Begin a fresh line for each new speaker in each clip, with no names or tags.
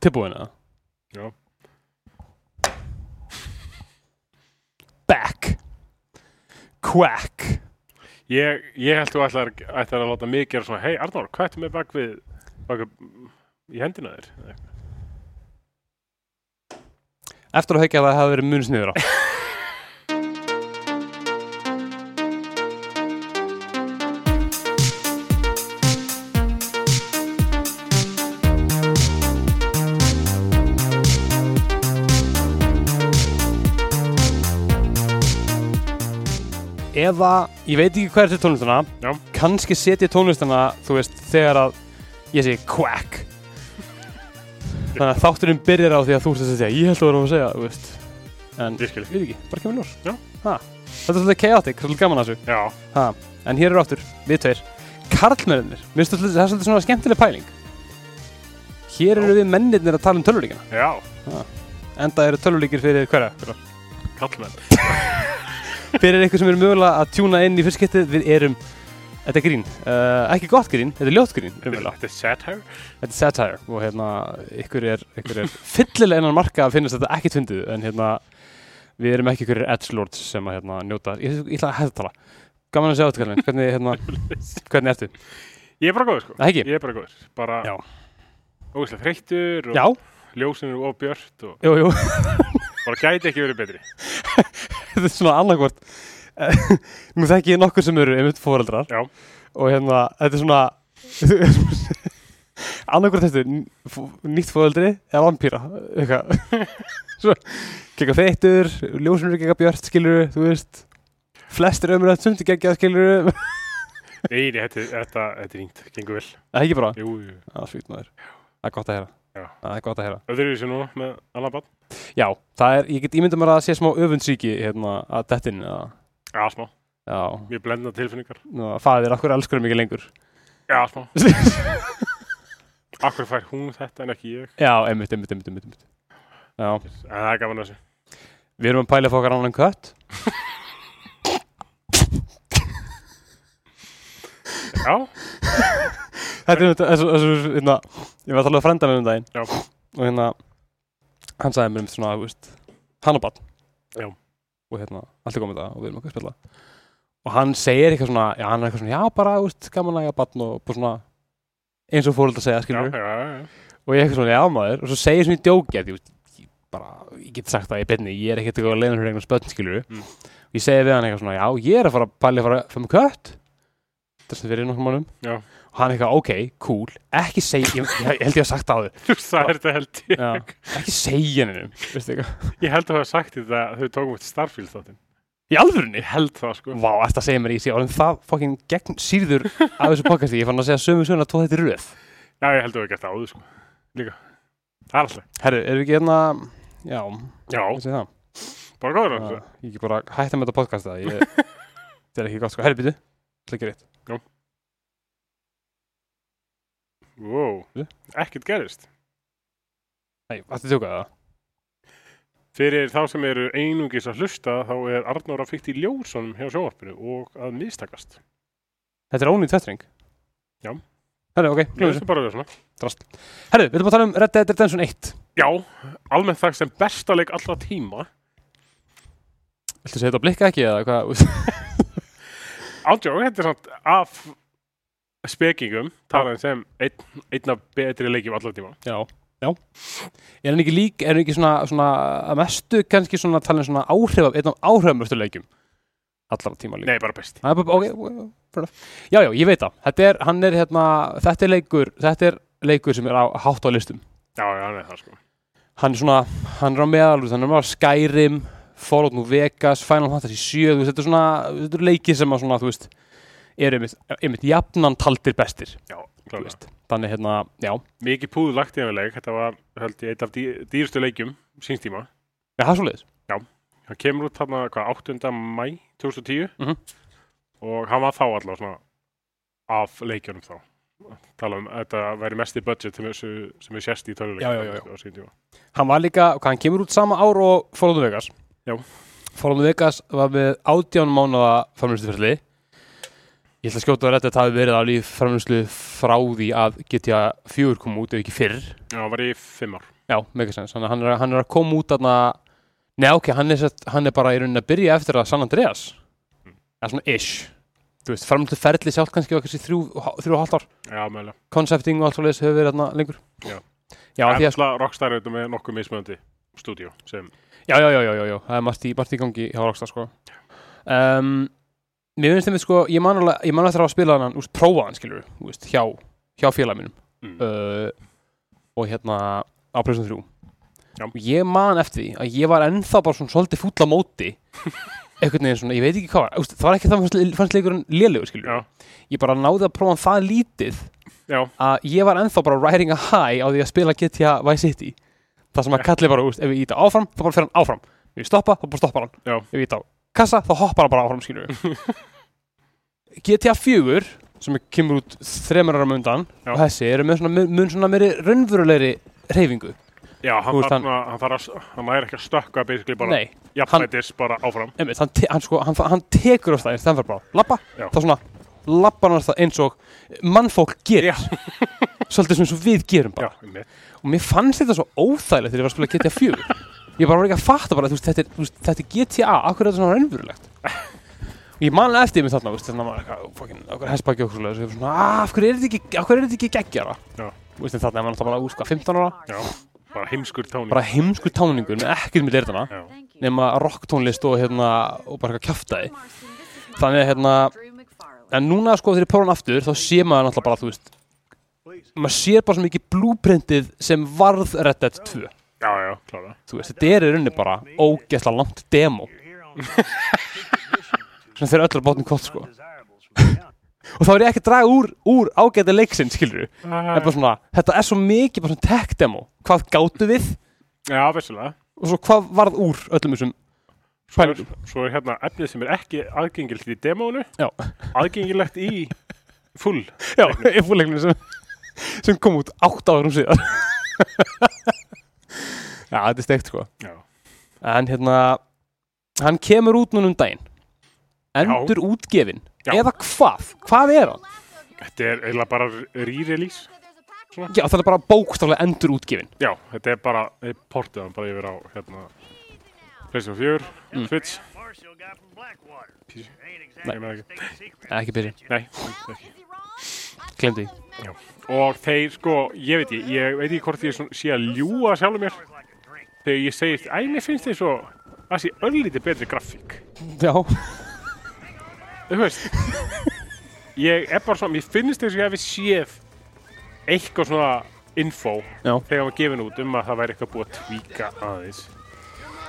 Tilbúin að
Já.
Back Quack
Ég, ég held þú ætlar, ætlar að láta mig gera svona Hei Arnór, hvað ertu með bak við, bak við í hendina þér?
Eftir að haukja að það hafi verið mun sniður á Eða, ég veit ekki hvað er til tónlistana
Já.
Kannski setja ég tónlistana, þú veist, þegar að ég segi quack Þannig að þátturinn byrjar á því að þú ert að segja Ég held að vera að segja, þú veist En
Ég skil
Ég veit ekki, bara kemur ljós
Já.
ha. Þetta er svolítið chaotic, svolítið gaman að þessu
Já,
ha. En hér eru áttur, við tveir Karlmennir, mér finnst svolítið- það er svolítið svona skemmtileg pæling Hér
Já.
eru við mennirnir að tala um tölvuleikina
já,
Enda eru tölvuleikir fyrir hverja? Fyrir-
kallmenn
Fyrir eitthvað sem eru mögulega að tjúna inn í fyrstskiptið Við erum, þetta er grín uh, Ekki gott grín, þetta er ljótt grín raunverulega.
Þetta er satire
Þetta er satire og hérna ykkur er, ykkur er fyllilega innan marka að finnast þetta ekkit fyndið en hérna við erum ekki ykkur edgelords sem að hérna njóta ég, ég ætla að hætta að tala gaman að sjá þetta Karlin hvernig, hérna, hvernig ertu?
Ég er bara góður sko
Það ekki?
Ég er bara góður Bara
Já.
ógeðslega þreyttur
Já,
og ljósin eru ofbjört og
jú, jú,
bara gæti ekki verið betri
þetta er svona annarkvort Nú þekki ég nokkur sem eru einmitt fóreldrar
Já.
og hérna þetta er svona annarkvort þetta er fó- nýtt fóreldri eða vampýra eitthvað Svo, gegga þeittur, ljósunur gegga björt skilur, þú veist flestir ömurlega sumt gegga skilur
Nei, nei, þetta, þetta, þetta er fínt, gengur vel
Það er ekki bara
Jú, jú
Það er svíkt maður Það er gott að
Já.
heyra Það er gott að heyra
Öðru þessu núna með annað bann
Já, það er, ég get ímynda mér að það sé smá öfundsíki hérna að dettin eða
Já, smá
Já,
Mjög blendna tilfinningar
nú að faðir okkur elskurum ekki lengur
Já, smá Akkur fær hún þetta en ekki ég
Já, einmitt, einmitt, einmitt, einmitt, einmitt. Já,
En það er gaman að þessu
við erum að pæla fókar annan kött
Já,
Þetta er einmitt, þessu, þessu, hérna Ég var að tala að frenda með um daginn
Já.
Og hérna, hann sagði mér um svona, þú veist Hannabann
Já.
Og hérna, allt er komið það og við erum okkur að spila Og hann segir eitthvað svona, já, hann er eitthvað svona Já, bara, þú veist, gaman að ég að bann og bara svona Eins og fóröld að segja,
já,
skilur
já, já, já.
og ég eitthvað svona, já maður, og svo segir svona í djóki að ég, ég bara, ég get sagt það í beinni, ég er ekkert eitthvað að leiða fyrir einhvern spötn, skilur
Mm.
og ég segi við hann eitthvað svona, já, ég er að fara að pæli að fara að fara með kött þess að fyrir nokkrum mannum
Já.
og hann eitthvað, ok, cool, ekki segja ég, ég, ég held ég að hafa sagt það á þau,
Þú sagði þetta held ég
ekki segja hennum veistu eitthvað,
Ég held að það sagt þetta að þau tókum eftir Starfield þáttinn
í alvörunni
Held það sko
Vá, þetta segir mér í sig, orðin það fokkin gegn síður af þessu podcasti, ég fann að segja sömu söguna tvo þetta í röð.
Já, ég held að það gert það áður sko Líka Það er alltaf
Herru, erum við ekki hérna, já,
Já,
ég segi það.
bara góður
Já,
sko. að þessu
ég ekki bara hætta með þetta podcast það ég, þetta er ekki gott sko, herri býtu slikir rétt,
Wow, ekkert gerist
nei, ætti tjóka það
Fyrir þá sem eru einungis að hlusta þá er Arnór að fykta í ljósunum hjá sjónvarpinu og að mistakast.
þetta er ónýtt fettring
Já.
herri, ok,
Ég
glöðum
veist
þessu,
bara að vera svona.
drast herri, við erum að tala um Red Dead Redemption 1
Já, almennt það sem besta leik allra tíma.
viltu segja þetta á blikka ekki eða hvað
Ándjók, þetta er samt af spekingum, talaðin sem einn, einn af betri leikjum allra tíma.
já, já er hann ekki lík, er hann ekki svona, svona að mestu kannski svona talin svona áhrif einn af áhrifamörstu leikjum allar tíma líka
Nei, bara best.
Það er bara, ok, well, fair enough. já, já, ég veit það þetta er, hann er hérna, þetta er leikur þetta er leikur sem er á, hátt á listum
Já, já, nei, það sko.
hann er svona, hann er á meðal þú veist, hann er á Skyrim, Fallout New Vegas Final Fantasy 7, þú veist, þetta er svona þetta eru leikir sem að svona, þú veist eru einmitt, einmitt jafnan taldir bestir
Já,
þú
klálega.
veist, þannig hérna, já já,
Mikið púðu lagt í það leik, þetta var, held ég, einn af dý, dýrstu leikjum síns tíma.
það er svoleiðis
Hann kemur út þarna, hvað, 8. mæ 2010
Mhm.
og hann var þá allavega svona af leikjunum þá tala um að þetta væri mesti budget sem, þessu- sem við sérst í
Já, já, já, já.
töluleik
hann var líka, hvað, hann kemur út sama ár og Fallout New Vegas
Já.
Fallout New Vegas var með 18 mánuða framlýstuferli Ég ætla að skjóta að þetta hafi verið alveg framlýslu frá því að GTA 4 kom út ef ekki fyrr.
Já, hann var í fimm ár.
Já, megasens. Þannig að hann er, hann er að koma út þarna... Nei, ok, hann er, satt, hann er bara í rauninni að byrja eftir að San Andreas. Það er svona ish. Þú veist, framlýslu ferli sjálf kannski var kannski þrjú, þrjú og halvt ár.
Já, meðlega.
Concepting og allt svo leiðis hefur verið þarna lengur.
Já.
Já,
Það
því að,
er alltaf Rockstar auðvitað með nokkuð mismöndi stúdíu sem
já, já, já, já, já, já, það er margt í, margt í gangi hjá Rockstar, sko. Um, mér finnst þeim, sko, ég man alveg, ég man eftir að hafa spilað hann, úst, prófað hann, skilur við, úst, hjá, hjá félag mínum.
mm,
uh, og hérna á Playstation 3
Já.
og ég man eftir því að ég var ennþá bara svona svolítið fúll á móti einhvern veginn svona, ég veit ekki hvað var Úst, það var ekki það fannst, fannst leikurinn lélegur skilur
Já.
ég bara náði að prófa hann það lítið
Já.
að ég var ennþá bara riding a high á því að spila GTA Vice City það sem að kalli bara, úst, ef ég íta áfram þá bara fer hann áfram, ef ég stoppa, þá bara stoppar hann
Já.
ef ég íta á kassa, þá hoppar hann bara áfram skilur GTA 4 sem er- kemur út þremur ára mundan
Já.
og þessi eru með svona, mun- mun svona meiri raunverulegri reyfingu
Já, hann
Þú veist,
þarf að, hann þarf að, s- hann næri ekki að stökka basically bara
Nei,
jafnættis bara áfram.
einmitt, hann, te hann, sko, hann, fa- hann tekur á staðinn þannig bara að lappa,
Já.
þá svona lappar hann á stað eins og mannfólk gerir svolítið sem eins og við gerum
Já,
bara
einmitt.
og mér fannst þetta svo óþægilegt þegar ég var að spila GTA 4 ég bara var ekki að fatta bara þú veist, þetta, er, þú veist, þetta er GTA, akkur er þetta svona raunverulegt og ég manlega eftir mig þarna þú veist, þannig að maður eitthvað, fokkin, okkur hessbæki okkur svoleiðis, og ég var svona, "Ah, af hverju er þetta ekki, af hverju er þetta ekki geggjara
Já.
Þú veist, en þarna er maður alltaf bara, úr, sko, 15 ára
Já, bara heimskur tóni.
bara heimskur táningur með ekkert með leirðana
Já,
nema rocktónlist og hérna og bara eitthvað kjaftaði þannig að hérna en núna sko þegar ég prófa hann aftur þá sé maður náttúrulega bara þú veist maður sér bara svo mikið blúprintið sem varð Red Dead 2
já, já, klára.
þú veist þetta er í rauninni bara ógeðslega langt demo sem þeir öllu að bátnum kott sko og þá er ég ekki að draga úr, úr ágæti leiksinn skilur við
Eh,
en bara svona þetta er svo mikið bara svona tech demo hvað gáttu við
Já, vissulega.
og svo hvað varð úr öllum þessum
Svo er,
Pælingum.
svo er hérna efnið sem er ekki aðgengilegt í demónu,
já
aðgengilegt í full.
Já, EFU-leiknum sem, sem kom út átt árum síðar Já, þetta er steikt sko
Já,
En hérna, hann kemur út núna um daginn Endur útgefin
Já.
Eða hvað? Hvað er hann?
þetta er eiginlega bara re-release.
Já, það er bara bókstaflega endur útgefin
Já, þetta er bara, þeir portið hann bara yfir á, hérna, PlayStation 4, Switch. Nei, ég með ekki.
Ekki byrja,
Nei, ekki.
glemdi
Já. Og þeir, sko, ég veit ég, ég veit ekki hvort ég svona, sé að ljúa sjálfur mér þegar ég segist, æ, mér finnst þeir svo, það sé öllítið betri grafík.
Já,
Þú veist, ég er bara svona, mér finnst þess að ég hefði séð eitthvað svona info
já,
þegar maður gefin út um að það væri eitthvað búið að tvíka aðeins.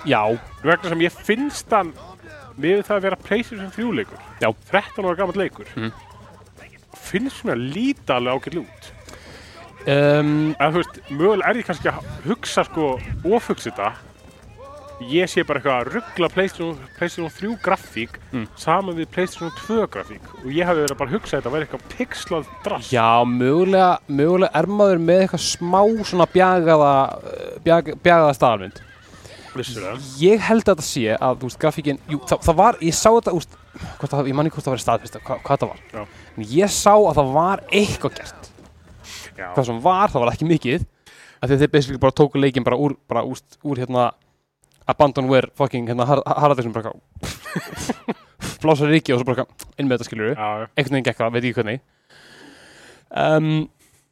já,
Vegna sem ég finnst hann með það að vera pleysir sem þrjúleikur,
já. Mhm.
13 ára gammal leikur, finnst mér að líta alveg ágætlega út.
Um,
að þú veist, mögulega er ég kannski að hugsa sko, ofugsa þetta ég sé bara eitthvað að ruggla PlayStation, PlayStation 3 grafík
Mm.
saman við PlayStation 2 grafík og ég hafi verið að bara hugsa að þetta væri eitthvað pixlað drast
Já, mögulega, mögulega er maður með eitthvað smá svona bjagaða, eh, bjag, bjagaða staðalmynd
vissulega
ég held að þetta sé að þú veist, grafíkin, jú, það, það var, ég sá þetta úst, hvort það, ég man ekki hvort það var staðfesta hva, hvað það var,
Já.
en ég sá að það var eitthvað gert,
já,
hvað sem var það var ekki mikið, af því að þeir basically bara tóku leikin bara úr, bara úst, úr hérna Abandonware fucking hérna Har- Haraldsson bara eitthvað blása ríki og svo bara eitthvað inn með þetta skilur
já, já,
einhvern veginn gekk það, veit ekki hvernig um,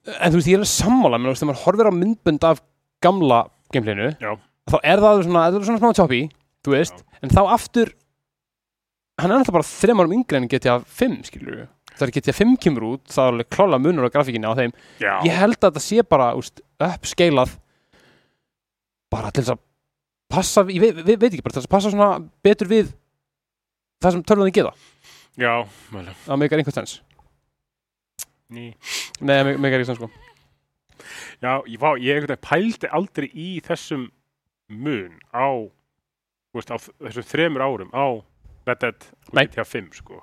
en þú veist, ég er alveg sammála menn, þú veist, þegar maður horfir á myndbönd af gamla gameplainu,
Já.
þá er það svona, þetta er svona smá choppy, þú veist en þá aftur hann er alltaf bara þrem árum yngri en GTA 5 skilur við, þegar GTA 5 kemur út þá er alveg klála munur á grafíkinni á þeim
já.
ég held að þetta sé bara, úst, uppskeilað bara til þess að passa, ég veit, veit, veit ekki bara til þess að passa svona betur við það sem tölvunni geta,
já mögulega.
það meikar einhvern sens
Ný.
Nei, me- megar ekki sann sko
já, ég, vá, ég einhvern veginn pældi aldrei í þessum mun á, þú veist, á þ- þessum þremur árum á Red Dead og
Nei.
GTA 5 sko.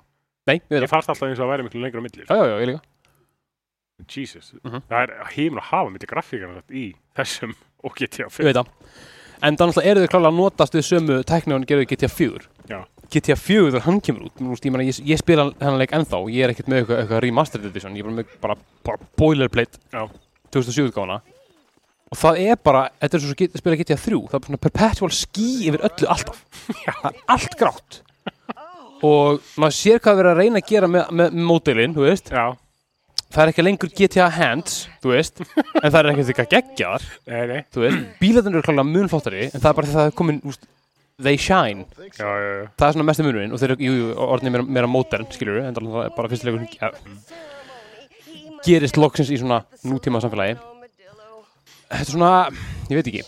Nei, ég veit
ég fannst alltaf eins og að væri miklu lengur á milli sko.
það Já, já, já, ég líka
Jesus,
Mhm.
það er heimur að hafa milli grafíkarna í þessum og GTA
Ég
5
veit það En þannig að eru þau klálega að notast við sömu tækni og hann gerðu í GTA 4
Já.
GTA 4 þegar hann kemur út Nú, ég, meina, ég, ég spila hennan leik ennþá ég er ekkert með eitthvað, eitthvað remastered edition ég er bara með bara, bara boilerplate
Já.
2007 gána og það er bara, þetta er svo að spila GTA 3 það er bara svona perpetual ský yfir öllu alltaf það er allt grátt og maður sér hvað er verið að reyna að gera með, með mótilinn, þú veist
Já,
það er ekki lengur GTA hands, þú veist en það er ekkert eitthvað geggjar
nei, nei
þú veist, bílarnir eru klálega mun flottari en það er bara því að það er komin, úst, they shine
Já, já, já
það er svona mestu munurinn og þeir eru, jú, jú, orðinir meira, meira modern, skilur en það er bara fyrstilegur sem ja, gerist loksins í svona nútíma samfélagi þetta er svona, ég veit ekki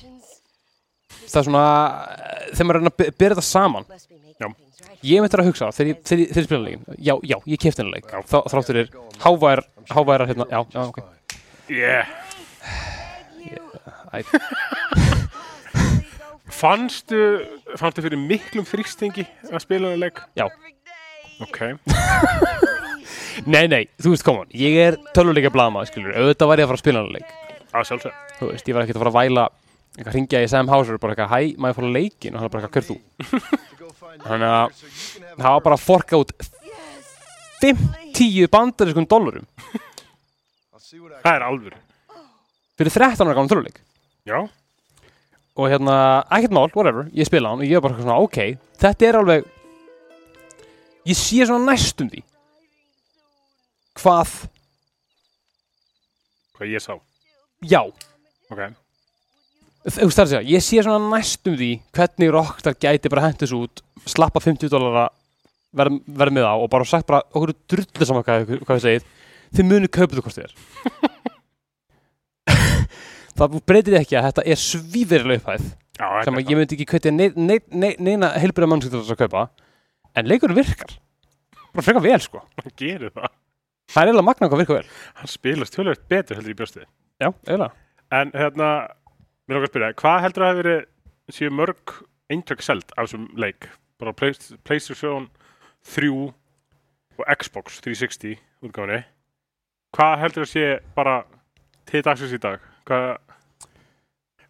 það er svona eh, þegar maður er að reyna að be- bera þetta saman
Já.
ég myndi að hugsa þegar ég, þegar ég, þegar ég spila leikin já, já, ég kefti hennar leik þá þráttur er hávær, háværar hérna, já, já, ok
Yeah
Æ.
Fannstu, fannstu fyrir miklum þrýstingi að spila þennan leik?
já,
Ok
nei, nei, þú veist, koma ég er töluleika blama, skilur, auðvitað var ég að fara að spila hennar leik
Að sjálfsög
þú veist, ég var ekkert að fara að væla eitthvað hringja í Sam Hauser og bara eitthvað, hæ, maður fór að leikin og hann er bara eitthvað, hver þú? Þannig að það var bara að forka út 50 bandarískum dollurum
Það er alvöru
fyrir 13 ára gamla töluleik
Já
og hérna, ekkert mál, whatever, ég spila hann og ég var bara eitthvað svona, ok, þetta er alveg ég sé svona næstum því hvað,
Hvað ég sá
já
Ok
þú veist það er að segja, ég sé svona næstum því hvernig Rockstar gæti bara hendur svo út slappa 50 dólar verð, verð með á og bara sagt bara okkur er drullu saman hvað, hvað við segið þið munið kaupið þú hvort þið er það breytir ekki að þetta er svífirilega upphæð
Já, þetta
sem
er
að ég myndi ekki hvetja nei- nei- nei- neina heilbyrða mannskið til þess að kaupa en leikurinn virkar bara frekar vel sko
það Gerir það
það er eiginlega magna hvað virkar vel
Hann spilast tölvöld betur heldur í bjóstið
já, eiginlega
En hérna Mér lókar að spyrja Hvað heldur að hafi verið Séu mörg eintök seld af þessum leik Bara Play- PlayStation 3 Og Xbox 360 útgáfinni Hvað heldur að sé bara Til dagsins í dag Hvað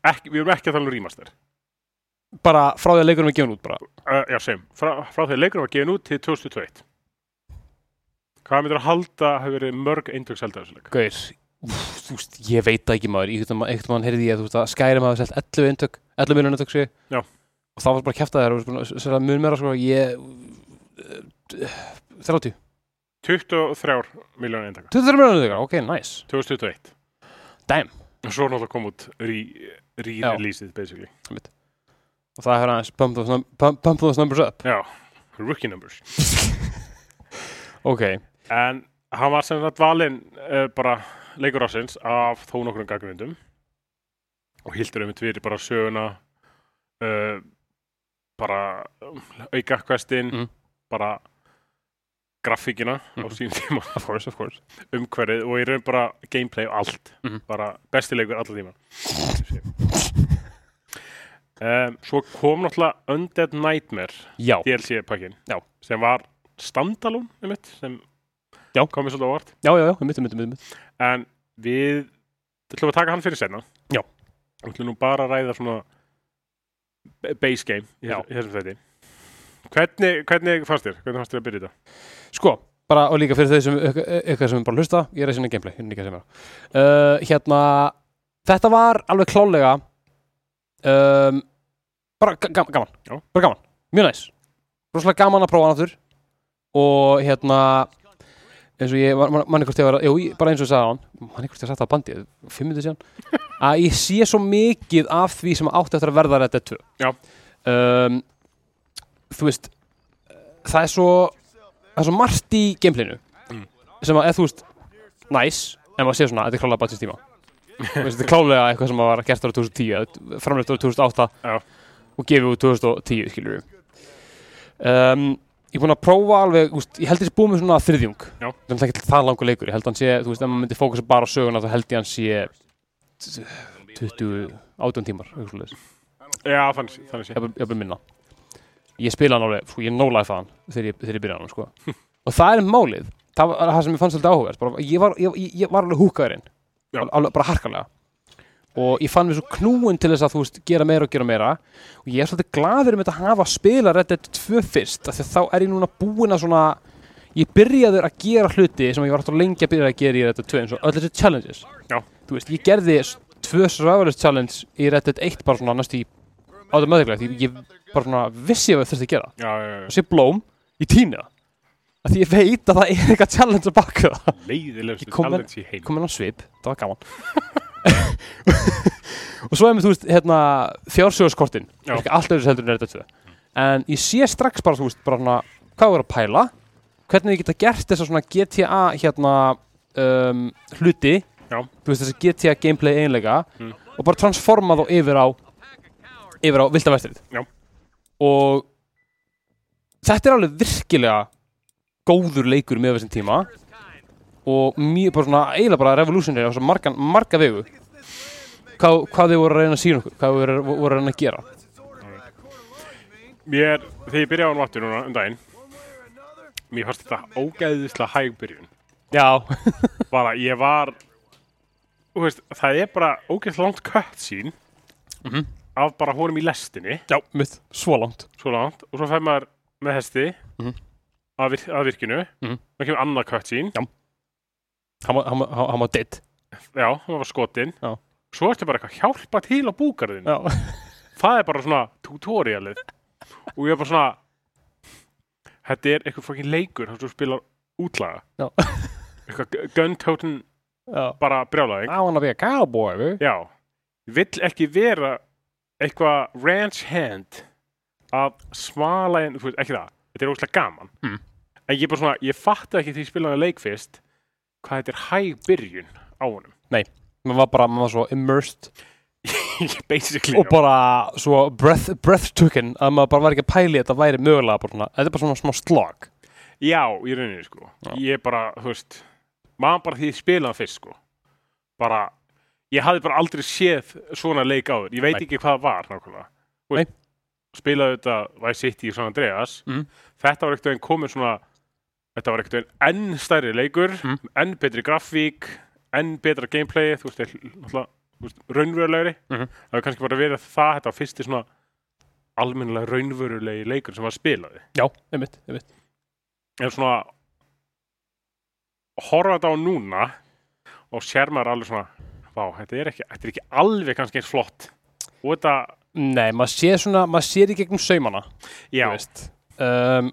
ekki, Við erum ekki að tala um remaster
bara frá því að leikurinn er gefin út bara
uh, Já, sem Frá, frá þegar leikurinn var gefin út til 2021 Hvað myndir að halda að hafi verið mörg eintök seld af þessum leik
Gaur, úf, þú veist, ég veit það ekki maður, ég ekkert mann heyrði ég að þú veist að Skyrim hafi selt 11 eintök, 11 miljonar eintök sig
Já.
og það var bara að kæfta þér og sko, sér að mun meira sko, ég eh, 30,
23 miljónu eintök
23 miljonar eintök, ok, nice
2021
Damn,
Og svo náttúrulega kom út re- re-releaseið, basically.
og það hefur aðeins pump those, num pump, pump those numbers up
Já, rookie numbers.
Ok,
En hann var sem sagt valinn uh, bara leikur ásins af þó nokkrum gaggrindum og hildur um fyrir bara söguna uh, bara um, auka questin
Mm.
bara grafíkina á
Mhm.
sínum tíma
of course, of course
umhverfið og í raun bara gameplay og allt
Mhm.
bara besti leikur allar tíma um, svo kom náttúrulega Undead Nightmare
Já,
DLC pakkin
Já.
sem var standalone um mitt sem
Já.
komið svolítið á vart
já, já, já, mitt, mitt, mitt, mitt
en við ætlum að taka hann fyrir senna
Já.
við ætlum nú bara að ræða svona b- base game í
Já.
þessu- í þessum þetta hvernig, hvernig fannst þér? hvernig fannst þér að byrja þetta?
Sko, bara og líka fyrir þau sem eitthvað sem er bara að hlusta, ég er að sinna gameplay ég er líka að segja mér uh, Hérna, þetta var alveg klálega um, bara ga- gam gaman
Já.
bara gaman, mjög næs rosalega gaman að prófa hann aftur og hérna eins og ég, man- man- manni hvort ég var að, jú, ég- bara eins og ég sagði á hann manni hvort ég sagði það á bandið, fimm minnir síðan að ég sé svo mikið af því sem átti eftir að verða þetta tvö
Já.
um, þú veist það er svo það er svo margt í gameplayinu
Mm.
sem að, eða þú veist, næs en maður sé svona, þetta er klálega bara til tíma Þú veist, þetta er klálega eitthvað sem að var gert ára 2010 eða framleitt ára 2008
Já.
og gefið úr 2010, skilur við um, ég er búinn að prófa alveg, úst, ég held ég sé búið með svona þriðjung
Já.
það er ekki það langur leikur, ég held hann sé þú veist, ef maður myndi fókusa bara á söguna þá held ég hann sé 20, 18 tímar, eitthvað svoleiðis
já, þannig, þannig sé
jafnvel jafnvel minna ég spila hann alveg, sko, ég no-life hann þegar ég, þegar ég byrja hann, sko og það er málið, það var það sem ég fannst svolítið áhugað bara, ég, var, ég, ég var alveg húkaðurinn
Já.
alveg bara harkalega og ég fann mér svo knúin til þess að þú veist gera meira og gera meira og ég er svolítið gladur um þetta að hafa spila Red Dead 2 fyrst af því að þá er ég núna búinn að svona ég byrjaður að gera hluti sem ég var alltaf lengi að byrja að gera í Red Dead 2 eins og öll þessi challenges
Já.
þú veist, ég gerði s- tvö survivalist challenge í Red Dead 1 bara svona næstu í automatically því ég bara svona vissi ég að þurfti að gera
Já, já, já.
og sé blóm í tína af því ég veit að það er eitthvað challenge að baka það
leiðilegustu
Ég kom með-
challenge í heim
komin á svip, það var gaman og svo er mér, þú veist, hérna fjársjóðskortin,
Já.
allt öðru heldur en er þetta tvö en ég sé strax bara, þú veist, bara hana, hvað er að pæla hvernig ég geta gert þessa svona GTA hérna um, hluti
Já.
þú veist, þessi GTA gameplay einlega
Mm.
og bara transforma þá yfir á yfir á viltavestrið
Já.
og þetta er alveg virkilega góður leikur með þessum tíma og mjög bara svona eiginlega bara revolutionary á svo margan, marga vegu hvað, hvað þau voru að reyna að sína okkur hvað þau voru, voru að reyna að gera
Mér, þegar ég byrjaði á hann vatnir núna um daginn Mér fannst þetta ógæðislega hæg byrjun
já,
Bara ég var Þú veist, það er bara ógæðislega langt kött sín
Mhm.
Af bara honum í lestinni
já, mitt, svo langt
Svo langt Og svo fær maður með hesti
Mhm.
að, vir, að virkinu
Mhm.
Það kemur annað kött sín
hann var- hann var- hann- hann var dead
Já, það var skotin
Já.
Svo ertu bara eitthvað hjálpa til á búgarðin
já,
það er bara svona tutorialið og ég er bara svona þetta er eitthvað fokkin leikur þar sem þú spilar útlaga
Já.
eitthvað gu- gun-totin
já
bara brjálæðing
I wanna be a cowboy við.
já, vill ekki vera eitthvað ranch hand að smala inn, þú veist, ekki það þetta er óslega gaman
Mm.
en ég er bara svona, ég fatta ekki því ég spilaði leik fyrst hvað þetta er hæg byrjun á honum
maður var bara, maður var svo immersed
basically
og bara svo breath, breath taken að maður bara var ekki að pæli þetta væri mögulega bara svona, þetta er bara svona smá slag
Já, í rauninni sko
Já.
Ég bara, þú veist maður bara því ég spilaði hann fyrst sko bara, ég hafði bara aldrei séð svona leik áður, ég veit
Nei.
ekki hvað það var nákvæmlega Þú veist, spilaði þetta Vice City í San Andreas
Mhm.
þetta var ekkert veginn komið svona þetta var ekkert veginn enn stærri leikur
Mhm.
enn betri grafík enn betra gameplay, þú veist, er náttúrulega, þú veist raunverulegri
Mhm.
það var kannski bara verið það, þetta var fyrsti svona almennilega raunverulegi leikur sem var spilaði
já, einmitt, einmitt
en svona horfa þetta á núna og sér maður alveg svona vá, þetta er ekki, þetta er ekki alveg kannski eins flott og þetta,
Nei, maður sér svona, maður sér í gegnum saumana
já,
þú veist um,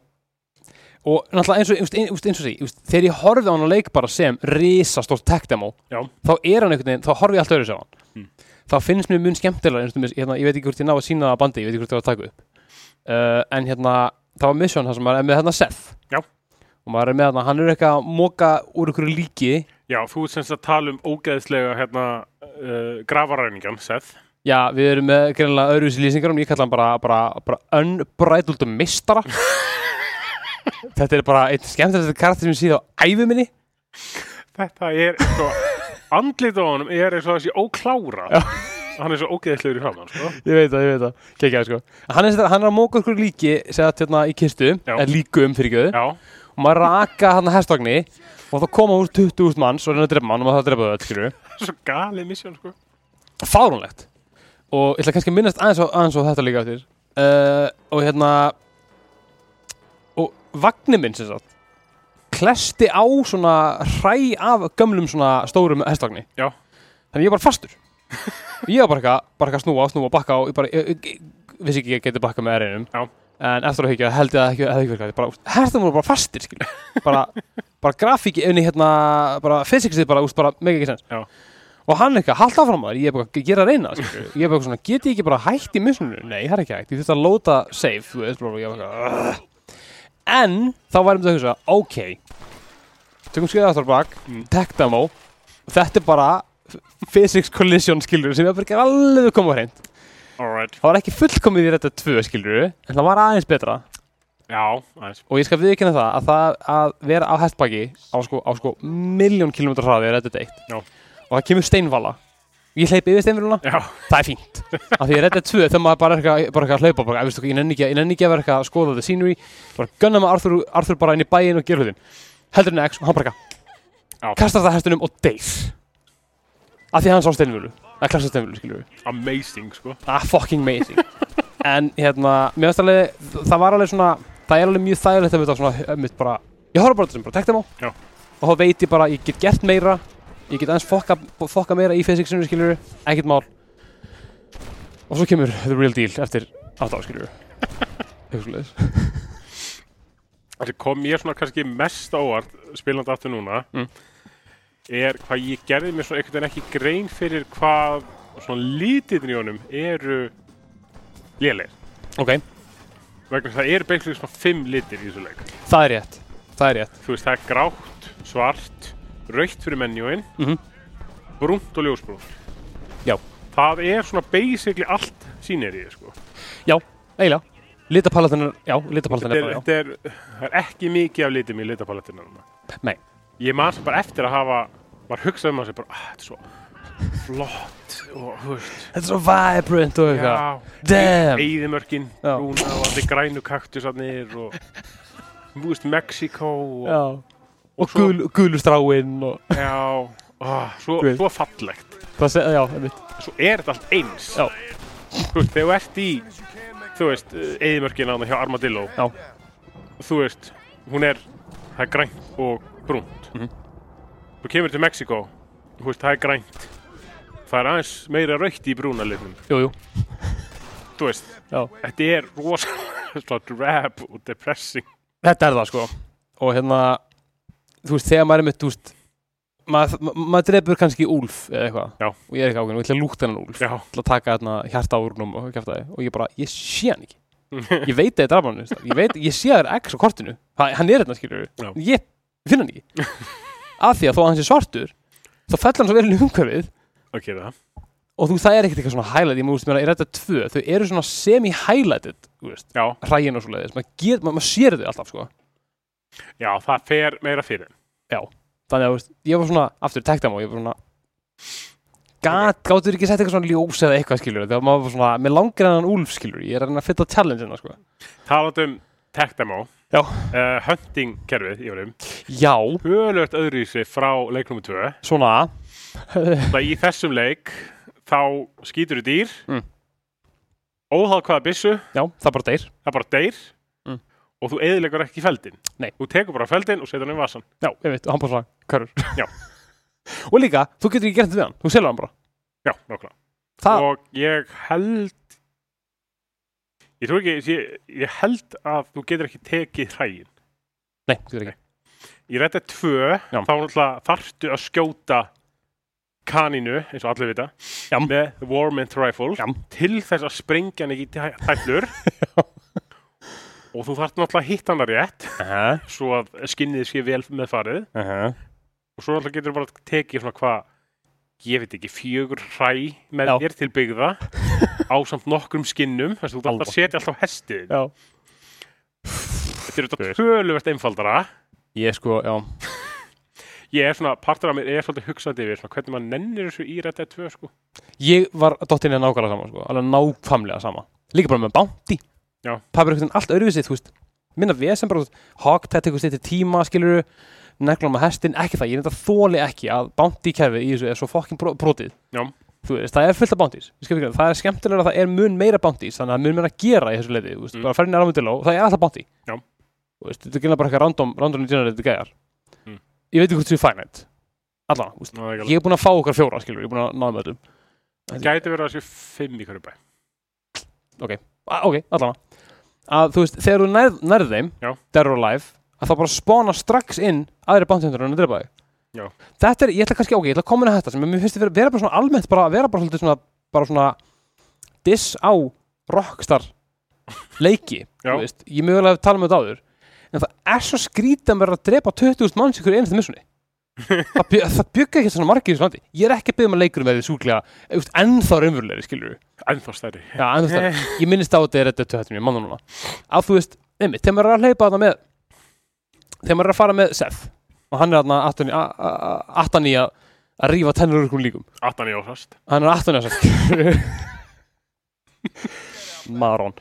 og náttúrulega eins og, eins, eins, eins og því þú veist, þegar ég horfið á hann að leik bara sem risastórt tech demo
Já.
þá er hann einhvern veginn, þá horfið ég allt öðru sem hann
Mm.
þá finnst mér mun skemmtilega eins og mér, hérna, ég veit ekki hvort ég ná að sína það á bandi ég veit ekki hvort ég var að taka upp uh, en hérna, það var mission þar sem maður er með hérna Seth
Já.
og maður er með hérna, hann er eitthvað að móka úr ykkur líki
já, þú ert semst að tala um ógeðslega hérna uh, gravaræningan, Seth
já, við erum með greinlega öðruvísi lýsingar um ég kalla hann bara, bara, bara unbrætult mistara þetta er bara einn skemmtilegsta karakter sem ég síð á æfuminni
þetta er sko, andlit á honum er eins og þessi óklára
Já.
hann er svo ógeðslegur í framann sko.
Ég veit það, ég veit það, kekjað sko Hann er, sem sagt- hann er að móka okkur líki sett hérna í kistu,
Já.
eða líkum fyrir göðu
já,
og maður raka hann að hestogni og þá koma úr 20.000 manns og reyna að drepa mann og maður það að drepa þau öll, skilju
svo galið misjón sko.
Fárunlegt og ég ætla kannski að minnast aðeins á, aðeins á þetta líka eftir uh, og hérna og vagnir minn sem sagt klesti á svona hræ af gömlum svona stórum hestogni
Já.
þannig ég var bara fastur ég var bara eitthvað, bara eitthvað að snúa, snúa, bakka og ég bara, ég, ég, ég vissi ekki að ég geti bakka með erinum
Já.
en eftir að hugja held ég að það ekki, hefði ekki virkað Ég bara, úst, hestum voru bara fastir skilja bara, bara grafíki, efni hérna bara fysiksið bara, úst, bara, mega ekki sens
Já.
og hann eitthvað, halda áfram að þér, ég er bara ég er að reyna, skilju, ég er bara svona, get ég ekki bara hætt í missunum, nei, það er ekki hægt, ég þurfti að lóta save, þú veist, bara, ég var eitthvað "Ugh." en, þá værum þau að hugsa, ok tökum skriða aftur á bak,
Mm.
tech demo þetta er bara physics collision skilur sem ég bara ekki alveg koma á hreint
alright,
það var ekki fullkomið í þetta tvö skilur en það var aðeins betra
já, aðeins
og ég skal viðkynna það að það að vera á hestbaki á sko, á sko miljón kilometrar hraði er þetta eitt
Já.
og það kemur steinvala ég hleyp yfir steinvaluna,
já,
það er fínt af því að þetta er tvö þegar maður bara er eitthvað- bara eitthvað að hlaupa bara, "Æ, veistu hvað, ég nenni ekki, að- ég nenni ekki að vera eitthvað að skoða the scenery bara gunna maður Arthur, Arthur bara inn í bæin og gera hlutin heldur henni X og hann bara
Já.
eitthvað kastar það hestunum og deyð af því að hann sá steinvölu að klassastemlu, skilur við
Amazing, sko
ah, fucking amazing en hérna, mér finnst alveg það var alveg svona, það er alveg mjög þægilegt að við það svona, mitt bara, ég horf bara á þetta sem bara tekta
Já.
og þá veit ég bara, að ég get gert meira ég get aðeins fokka, fokka meira í fysiksinu, skilur, ekkert mál og svo kemur the real deal eftir 8 ára, skilur eitthvað svoleiðis.
Það sem kom mér svona kannski mest á óvart spilandi aftur núna
Mm.
er hvað ég gerði mér svona einhvern veginn ekki grein fyrir hvað svona lítirnir í honum eru lélegir
ok,
vegna þess að það eru basically svona fimm litir í þessu leik
það er rétt það er rétt,
þú veist það er grátt, svart raukt fyrir menjóin
Mhm.
brúnt og ljósbrúnt
Já.
það er svona basically allt sýnerið sko
já, eiginlega litapaletin er, já, litapaletin
þetta
er
er,
bara,
þetta er, það er ekki mikið af litum í litapalettinu núna
já nei,
ég man sem bara eftir að hafa maður hugsaði um að sér bara, ah, þetta er svo flott og þú veist
þetta er svo vibrant og eitthvað
já,
Damn.
eigðimörkin,
Já.
brúna og allir grænu kaktusarnir og þú veist, Mexiko og,
já, og gul, gulustráin og
já, ah, svo,
Guð.
svo fallegt
það segja, já, einmitt
svo er þetta allt eins
Já.
þú veist, þegar þú ert í þú veist, eigðimörkin ána hjá Armadillo
Já.
þú veist, hún er það er grænt og brúnt
Mhm.
þú kemur til Mexiko þú veist, það er grænt það er aðeins meira raukt í brúna litnum
Jú, jú,
þú veist,
já.
þetta er rosalega drab og depressing
Þetta er það sko Og hérna, þú veist, þegar maður er mitt, þú veist Maður ma ma maður drepur kannski úlf eða eitthvað
Já.
Og ég er ekki ákveðin, og ég ætla að lúta hennan úlf Ég
já,
ætla að taka hérna hjarta á úrnum og kæfta þið Og ég bara, ég sé hann ekki Ég veit að ég draf hann, veist það. ég veit, ég sé þér X á kortinu ha, Hann er hérna, skilur
Já.
við Ég finn hann ekki Af því að þó að hann sé svartur Þá fellur hann svo vel í umhverfið
ok, það
Og þú, það er ekkert eitthvað svona highlight Ég, múst, mér, ég rætta tvö, þau eru svona semi-highlighted þú veist,
já,
Hræin og svo leiðis, maður get- maður- maður sér þau alltaf sko
já, það fer meira fyrir
þannig að þú veist, ég var svona aftur tektam og ég var svona gat, gáttur ekki sett eitthvað svona ljós eða eitthvað skilur þegar maður var svona, með langir enn úlf skilur ég er að reyna að fitta challenge-ina sko
talað um tech demo
Já.
Eh, hunting kerfið, ég var um
já,
hölögt öðruvísi frá leik nr. 2
svona
Það í þessum leik þá skýtur þú dýr
Mm.
óháð hvaða byssu,
já, það bara deyr
það bara deyr
Mm.
og þú eðilegur ekki feldin
Nei.
Þú tekur bara feldin og setur hann í vasan
já, ég veit, og hann bara svona, körur
Já.
og líka, þú getur ekki gert þetta við hann, þú selur hann bara
Já, nokkla
það,
Og ég held ég trú ekki ég, ég held að þú getur ekki tekið hræin
nei, þú getur ekki
Í rétti tvö
Já.
þá náttúrulega þarftu að skjóta kaninu, eins og allir vita
Já.
með Warmint Rifle
Já.
til þess að sprengja hann ekki í tæ- tætlur og þú þarft náttúrulega að hitta hann rétt
uh
svo að skinnið sé vel með farið
-huh.
og svo alltaf getur bara tekið svona hvað ég veit ekki, fjögur hræ með
Já.
þér til byggða á samt nokkrum skinnum þess að þú þarf
Alveg.
að setja alltaf hestið
já,
þetta er þetta töluvert einfaldara
ég sko, já
ég er svona, partur af mér er svolítið hugsaði yfir svona, hvernig maður nennir þessu í Red Dead 2 sko.
ég var dottinni nákvæmlega sama sko, alveg nákvæmlega sama líka bara með bounty
Já.
það er bara einhvern veginn allt öðruvísi þú veist minna vesen bara þú veist, hawk þetta eitthvað stýttir tíma skilur neglum með hestin ekki það ég er þetta þóli ekki að bounty kerfið í þessu er svo fokkin bro brotið
Já.
þú veist það er fullt af bounties Ég skal ekki gera það. það er skemmtilega að það er mun meira bounties þannig að það mun meira að gera í þessu leiti þú veist
Mm.
bara ferðin er ámyndil og það er alltaf bounty
Já.
þú veist þetta er gynna bara eitthvað random random generated gæjar
Mm.
ég veit ekki hvort þú finite allan þú veist
Ná, það er ekki
ég er búin að fá okkar fjóra skilur ég er búin að náða með öllum
alveg- gæti verið að þessu fimm í hverju bæ
Ah, ok, allavega að þú veist, þegar þú nærð, nærð þeim
Já.
Dead or Alive, að þá bara spána strax inn aðri bántendur en að drepa
Já.
þig þetta er, ég ætla kannski, ok, ég ætla að koma inn að þetta sem mér finnst að vera, vera bara svona almennt bara, vera bara svolítið svona, bara svona diss á rockstar leiki,
Já.
þú veist ég mögulega hef talað með þetta áður en það er svo skrítið að vera að drepa 20.000 manns ykkur einasta missunni það, bjö, það bjögga ekki svona margir í þessu landi ég er ekki að byggja með leikurum eða súklega þú veist, ennþá raunverulegri, skilur
ennþá stærri
Já, en þú veist, það- ég minnist á þetta er þetta töttum ég manna núna að þú veist, nefnir, þegar maður er að hleypa þarna með þegar maður er að fara með Seth og hann er þarna aftan í- a- a- a- aftan í að að rífa tennur úr einhverjum líkum
atan í ósast
hann er aftan í að Seth Maron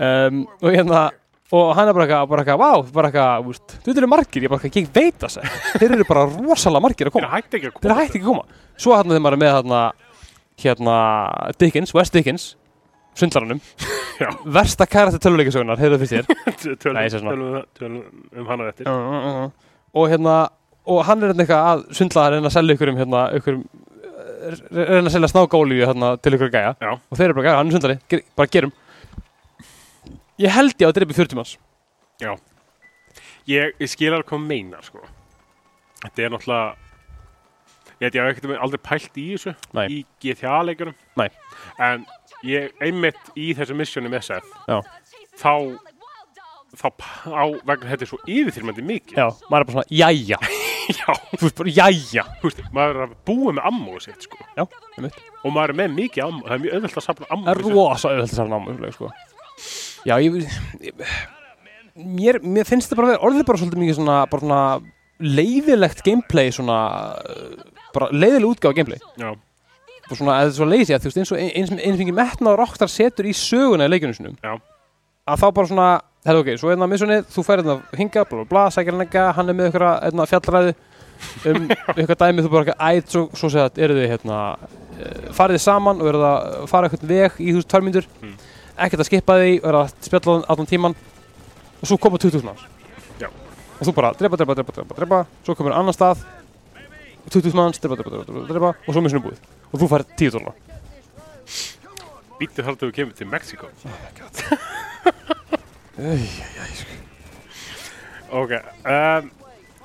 um, og hérna og hann er bara eitthvað, bara eitthvað, vá, bara eitthvað þú veist, þú eru margir, ég bara eitthvað, ég veit það Seth. þeir eru bara rosalega margir að koma
þeir hætti ekki að
þeir
koma
hætti ekki að koma svo hann þegar maður er með þarna hérna Dickens, West Dickens sundlaranum
Já.
versta karakter töluleikasögunar, heyrðu fyrst þér
tölum,
Nei, ég sé svona.
tölum, tölum um hana eftir
og hérna og hann er hérna eitthvað að sundla að reyna að selja ykkur um hérna ykkur um reyna að selja snákólíu hérna til ykkur gæja
Já.
og þeir eru bara gæja, hann er sundlari, ger, bara gerum ég held ég á að dreipi 40 manns
ég, ég skil alveg hvað hún meinar sko. þetta er náttúrulega ég held ég hef ekkert aldrei pælt í þessu
Nei.
í GTA-leikunum
Nei.
en ég einmitt í þessu missjónu með SF
þá
þá p- á vegna þetta er svo yfirþyrmandi mikið
já, maður er bara svona, jæja
Já.
þú veist bara, jæja
Þú veist, maður er að búa með ammóðu sitt sko.
já, einmitt
og maður er með mikið ammóðu það er mjög auðvelt að safna
Það er
ammóðu
rosa auðvitað safna ámælislega sko. Já, ég, ég mér, mér finnst það bara að vera orðið bara svolítið mikið svona, bara svona leiðilegt gameplay svona, uh, bara leiðileg útgáfa gameplay
Já.
og svona, eða svo leiðis ég að þú veist eins og ein- eins, eins fengið metna og roktar setur í söguna í leikinu sinum
Já.
að þá bara svona, hefðu ok, svo er það missunni þú færir hérna hinga, bla bla bla, sækir hann ekki hann er með ykkur hérna, fjallræðu um ykkur dæmi, þú bara ekki æt svo, svo segja að eru þið hérna eh, farið þið saman og eru það að fara eitthvað veg í þú törmyndur,
Mm.
ekkert að skipa því og eru að spjalla allan- allan tíman og svo koma 20 manns
Já.
og þú bara drepa, drepa, drepa, drepa, drepa svo komur annan stað 20 manns, drepa, drepa, drepa, drepa, drepa og svo missunni búið og þú fær 10 dólar
Býttu þar til við kemur til Mexiko Ok um,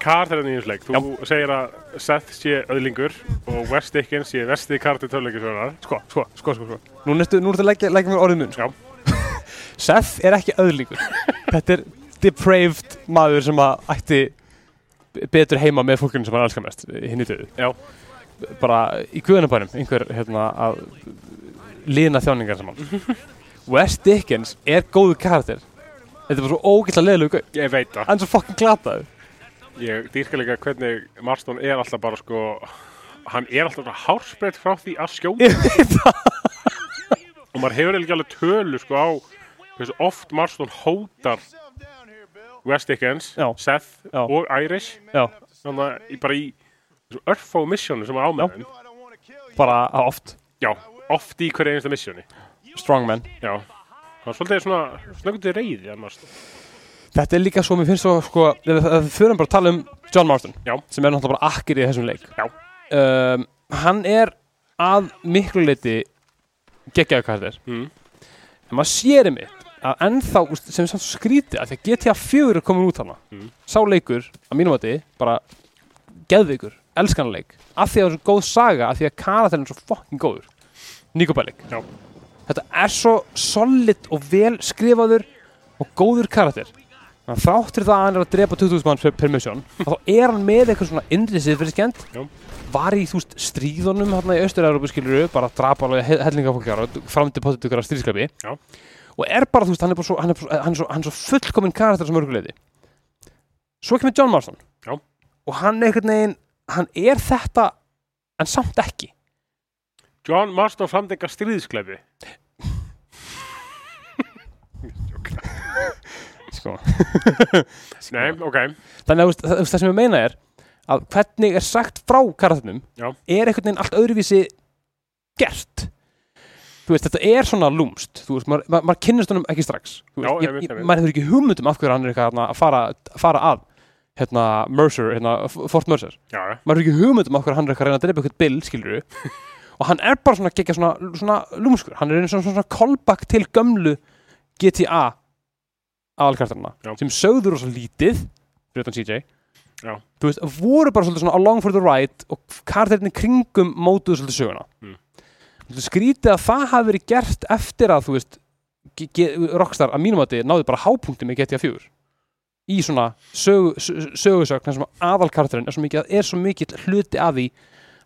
Karakterinn í þessu leik Þú segir að Seth sé öðlingur og West Dickens sé vesti karakter töluleikisjónar
Sko, sko, sko, sko, sko. Nú ertu, nú ertu að leggja, leggja mér orðið mun, sko. Seth er ekki öðlingur. Þetta er depraved maður sem að ætti betur heima með fólkinu sem hann elskar mest, hinn í döðu.
Já.
Bara í guðanabænum, einhver, hérna, að lína þjáningar saman. West Dickens er góðu karakter. Þetta er bara svo ógætla leðilegu gau.
Ég veit það
Hann er svo fucking glataður.
Ég dýrka líka hvernig Marston er alltaf bara sko Hann er alltaf bara hárspreitt frá því að skjóta
Ég veit það.
og maður hefur eiginlega alveg tölu sko á hversu oft Marston hótar West Dickens,
Já.
Seth
Já.
og Irish
Já,
þannig að í- bara í þessu örfá missjónu sem er á
Já.
með þeim
bara oft.
Já, oft í hverju einasta missjóni
Strongman.
Já, það er svolítið svona snöggur til reyði að Marston
Þetta er líka svo, mér finnst svo, sko, ef- ef við förum bara að tala um John Marston,
Já.
sem er náttúrulega bara akkir í þessum leik.
Já.
Um, hann er að miklu leiti geggjaðu karakter.
Mm.
En maður sér einmitt að ennþá, úst, sem er samt svo skrítið, að því að GTA 4 er komin út hana.
Mm.
Sá leikur, að mínum að þið, bara geðveikur, elskanleik, af því að það er svo góð saga, af því að karakterinn er svo fucking góður. Nico Bellic.
Já.
Þetta er svo solid og vel skrifaður og góður karakter. Þannig að þráttur það að hann er að drepa 20.000 manns per, per mission þá er hann með eitthvað svona innri siðferðiskend
Já.
var í þú veist stríðunum hérna í Östur-Európa skiluru bara að drapa alveg he- hellinga fólki ára framdi potið ykkur af stríðskapi
Já.
og er bara þú veist hann er bara svo, hann er, bara svo- hann er, svo, hann er svo fullkominn karakter sem örguleiti svo kemur John Marston
Já.
og hann einhvern veginn hann er þetta en samt ekki
John Marston framdengar stríðsklefi
sko.
Nei, ok,
þannig að þú veist, það, þú veist, það sem ég meina er að hvernig er sagt frá karatunum
Já.
er einhvern veginn allt öðruvísi gert þú veist, þetta er svona lúmst þú veist, maður, maður, maður kynnist honum ekki strax Þú
Já,
veist,
ég veit, ég veit.
maður hefur ekki hugmyndum af hverju hann er eitthvað þarna að fara, að fara að hérna, Mercer, hérna, F- Fort Mercer
já, já.
maður hefur ekki hugmyndum af hverju hann er eitthvað að reyna að drepa eitthvað bill, skilur og hann er bara svona gegja svona, svona lúmskur, hann er einu svona, svona callback til gömlu GTA aðalkartarna,
Já.
sem sögður og svo lítið fyrir utan CJ
Já.
þú veist, voru bara svolítið svona along for the ride og kartarnir kringum mótuðu svolítið söguna
Mm.
Svolítið skrítið að það hafi verið gert eftir að þú veist ge- ge- Rockstar að mínum að þið náði bara hápunktum í GTA 4 í svona sögu, sö- sögusögn þar sem aðalkarturinn er svo mikið er svo mikið hluti af því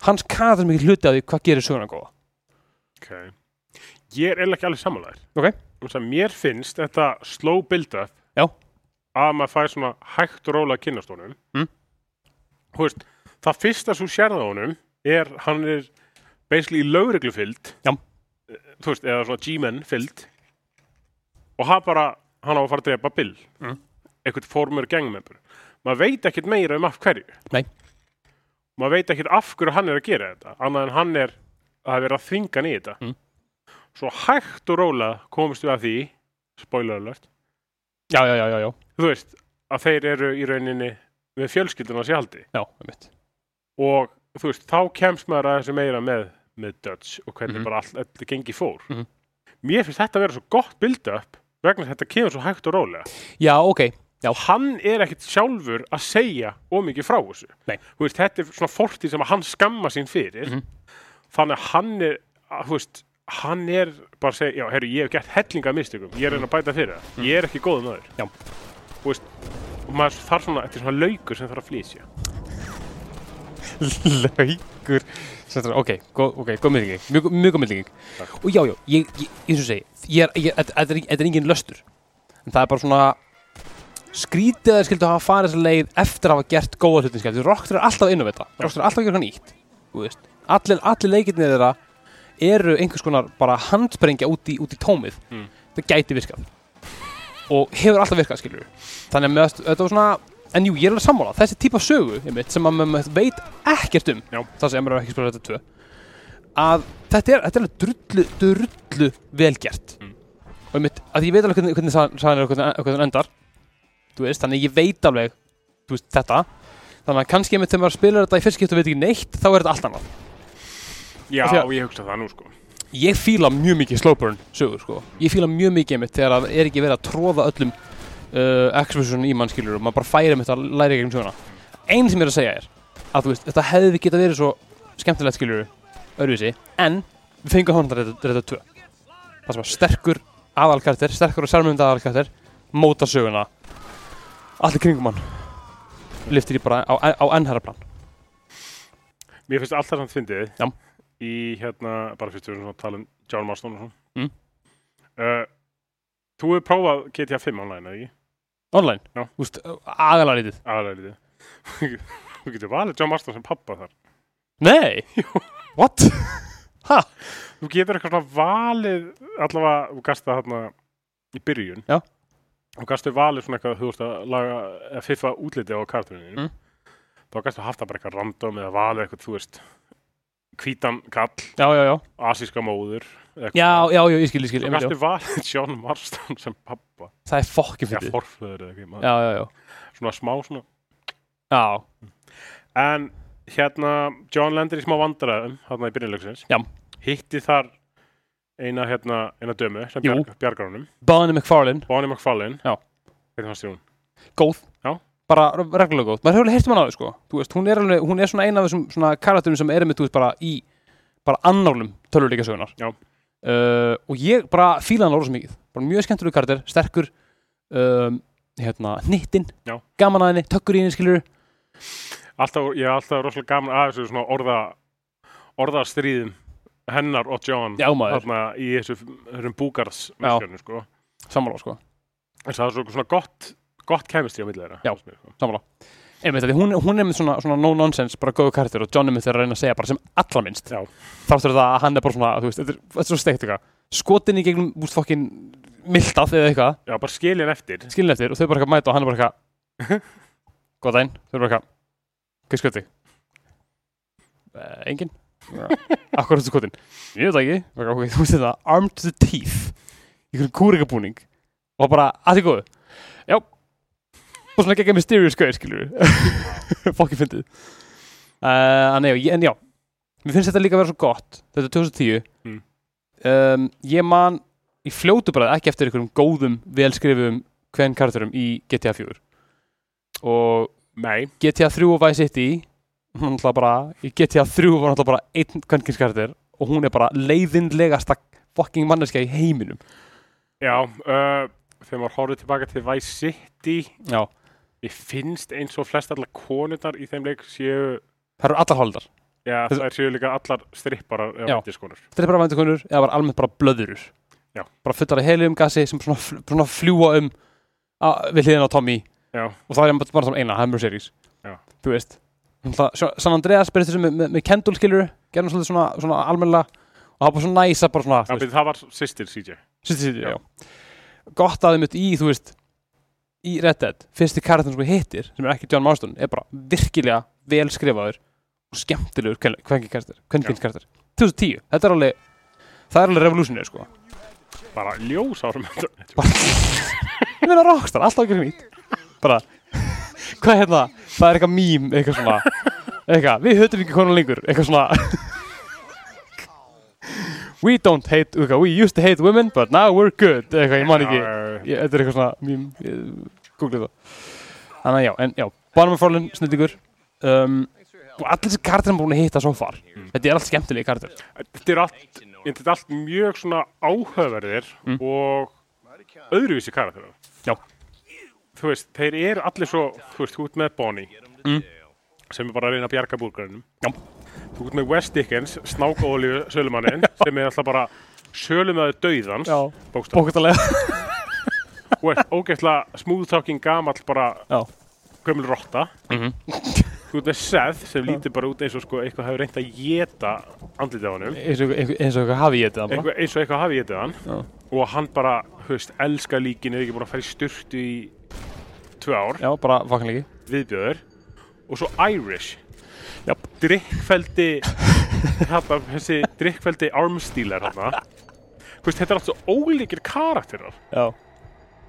hans karakter er mikið hluti af því hvað gerir söguna góða
ok Ég er eiginlega ekki alveg samanlæður
Ok.
Mér finnst þetta slow build-up
Já.
að maður fær svona hægt og róla að kynnast honum
Mm.
Þú veist, það fyrsta svo sérða honum er, hann er basically í lögreglufylld
Já.
Eh, þú veist, eða svona G-men fylld og hann bara, hann á að fara að drepa Bill
Mm.
eitthvað formur gangmembur maður veit ekkert meira um af hverju
Nei.
maður veit ekkert af hverju hann er að gera þetta annað en hann er það er verið að þvinga niður þetta
Mm.
svo hægt og róla komist við að því spoiler alert
Já, já, já, já, já,
þú veist að þeir eru í rauninni með fjölskyldunars í haldi
já, einmitt.
og þú veist, þá kemst maður að þessu meira með, með Dutch og hvernig
Mhm.
bara allt þetta gengi fór
Mhm.
mér finnst þetta að vera svo gott build-up vegna þess að þetta kemur svo hægt og rólega
Já, ok, Já.
hann er ekkit sjálfur að segja ómikið frá þessu
Nei.
Þú veist, þetta er svona fortíð sem að hann skamma sín fyrir
Mhm.
þannig að hann er að, þú veist, hann er bara að segja, já, herru, ég hef gert hellinga af mistökum, ég er að reyna að bæta fyrir það ég er ekki góð maður
Mhm. Já.
Þú veist, og maður þarf svona, þetta er svona laukur sem þarf að flýsja
laukur Sem þetta- ok, góð, ok, góð myndlíking mjög, mjög góð myndlíking og já, já, ég, ég, eins og segi ég er, ég, þetta þetta er, þetta er engin löstur en það er bara svona skrítið að þeir skildu hafa farið þessa leið eftir að hafa gert góða hlutin skemmt Rockstar er alltaf að innovata, Rockstar er alltaf að gera hann ítt veist, allir, allir leikirnir þeirra eru einhvers konar bara handsprengja út í, út í tómið
Mm.
það gæti virkað og hefur alltaf virkað skilur þannig að með, þetta var svona en jú, ég er alveg sammála, þessi típa sögu einmitt, sem að maður veit ekkert um
Já.
það sem maður ekki spilað þetta tvö að þetta er, þetta er alveg drullu, drullu velgjert
Mm.
og einmitt, að ég veit alveg hvernig, hvernig sagan sagan er og hvernig, hvernig hann endar þú veist, þannig að ég veit alveg þú veist, þetta þannig að kannski einmitt þegar maður spilar þetta í fyrst skipt og veit ekki neitt þá er þetta allt annað
já,
Af því að-
ég hugsa það nú sko
ég fíla mjög mikið slow burn sögur sko ég fíla mjög mikið einmitt þegar að er ekki verið að tróða öllum uh, exposition í mannskilur og maður bara færi einmitt að læra ekki um söguna einn sem ég er að segja er að þú veist þetta hefði geta verið svo skemmtilegt skilur öðruvísi en við fengum hann þetta þetta tvö það sem var sterkur aðalkartir sterkur og sérmynda aðalkartir móta söguna allir kringum hann liftir í bara á, á ennherra plan
Mér finnst alltaf samt fyndið
Já.
í hérna, bara fyrst við erum svona að tala um John Marston og svona
Mm.
uh, Þú hefur prófað GTA 5 online, eða ekki?
online
Já.
Úst, agalega lítið
Aðalega lítið Þú getur valið John Marston sem pappa þar
nei what
Þú getur eitthvað svona valið allavega, þú gast það hérna í byrjun
Já.
Þú gastu valið svona eitthvað, þú veist að laga að fiffa útliti á kartuninu
Mm.
Þá gastu haft það bara eitthvað random eða valið eitthvað, þú veist hvítan kall,
já já já
asíska móður eða eitthvað.
Já, já, já, ég skil, ég skil,
Þú
einmitt, já.
gastu valið John Marston sem pappa
það er fokkin
Já,
fyrir
forföður eða ekki maður.
Já, já, já,
Svona smá svona
já,
En hérna, John lendir í smá vandræðum Hérna í byrjunleiksins
Já.
Hitti þar eina, hérna, eina dömu Sem
Jú.
bjarg, bjargar honum
Bonnie McFarlane,
Bonnie McFarlane
Já.
Hvernig fannst þér hún?
góð
Já.
Bara re- reglulega góð, maður hefur alveg heyrt um hana áður, sko Þú veist, hún er, alveg, hún er svona eina af þessum svona karakterum sem er með, þú veist, bara í bara annálum tölvuleika sögunar
Já.
uh, Og ég bara fíla hann lóra svo mikið Bara mjög skemmtileg karakter, sterkur um, Hérna, hnittinn
Já.
Gaman að henni, tökkur í henni, skilur
Alltaf, ég er alltaf rosalega gaman að þessu svona orða Orðastríðum Hennar og John
Já, maður,
Þarna í þessu, þessum búgarðs
Já.
sko.
sammála, sko
En það er svo- svona gott Gott kemistri á milli þeirra
Já.
fannst mér, sko.
Sammála Einmitt, af því hún, hún er með svona, svona no-nonsense, bara góðu karakter og John er með þeirra að reyna að segja bara sem allra minnst
Já.
Þáttur það að hann er bara svona, þú veist, þetta er, þetta er svo steikt eitthvað Skotin í gegnum, úst fokkin, miltað eða eitthvað
Já, bara skilin eftir
skilin eftir og þau bara eitthvað mæta og hann er bara eitthvað Góð dæn, þau eru bara eitthvað Hvað skot þig? Uh, engin Akkur er þetta skotin? Ég veit það ekki Bara eitthvað, ok, Þú veist þetta, armed to the teeth Í hvernig kúrikabúning Og bara, að þið góðu Já Og svona geggjað mysterious gauð, skilur við Fokki fyndið uh, Nei, já, ég- en já Mér finnst þetta líka að vera svo gott Þetta er 2010
Mm.
um, Ég man í fljótu bara ekki eftir einhverjum góðum, velskrifum hvern karakterum í GTA 4 og
Nei,
GTA 3 og Vice City hún ætla bara, í GTA 3 var náttúrulega bara einn kvenkins karakter og hún er bara leiðinlegasta fucking manneskja í heiminum
já uh, Þegar maður horfði tilbaka til Vice City
Já,
Ég finnst eins og flest allar konurnar í þeim leik séu,
það eru allar holdar
já
Þessu-
það séu líka allar stripparar
Já.
eða vendiskonur.
þetta er bara væntakonur eða bara almennt bara blöðurur
Já.
bara fullar af helium gasi sem svona, fl- svona fljúa um á- við hliðin á Tommy
Já.
og það er bara, bara saman eina, það er mjög series
Já.
þú veist Náttúrulega, Sj- San Andreas byrjast þessu með, með, með Kendall skilur gerðum svolítið svona, svona almennilega og það var bara svona næsa bara svona, þú
Það,
veist,
byrju, það var sýstir CJ.
Sýtti sýtti, já. Gott að þið mitt í, þú veist, í Red Dead, fyrsti karakterin sem við hittir, sem er ekki John Marston, er bara virkilega vel skrifaður og skemmtilegur kvenkinskarakter. 2010, þetta er alveg það er alveg revolutionið sko
bara ljós árum eftir
ég meina rockstar, alltaf ekki nýtt bara, hvað er hérna það er eitthvað mím, eitthvað svona eitthvað, við höfum ekki konar lengur eitthvað svona we don't hate, eitthvað, we used to hate women but now we're good, eitthvað, ég man ekki ég, þetta er eitthvað svona mím ég- googlið það þannig að já, en já, Barnum Forlun, snillíkur um, og allir þessi kartir er búin að hitta svo far þetta er allt skemmtilegi kartir
þetta er allt ég, þetta er allt mjög svona áhugaverðir
Mm.
og öðruvísi karakterar
Já.
þú veist, þeir eru allir svo þú veist, þú ert með Bonnie
Mm.
sem er bara að reyna að bjarga búrgrunum
Já.
þú ert með West Dickens, snákaolíu sölumannin, sem er alltaf bara sölumæður dauðans
já,
bókstaf
bókastalega
og er ógeðslega smooth talking gamall bara
Já.
gömul rotta
Mhm.
þú ert með Seth sem lítur bara út eins og sko eitthvað hefur reynt að geta andlitið á hann
eins og eins og- eins og eitthvað hafi ég þetta bara
eitthvað, eins og eitthvað hafi getið hann
Já.
og hann bara, höfst, elska líkin er ekki búin að fara í styrtu í tvö ár,
já, bara vakkanleiki
viðbjöður og svo Irish
Japp.
drikkfeldi þarna, þessi drikkfeldi armstílar hann þetta er allt svo ólíkir karakterar
já,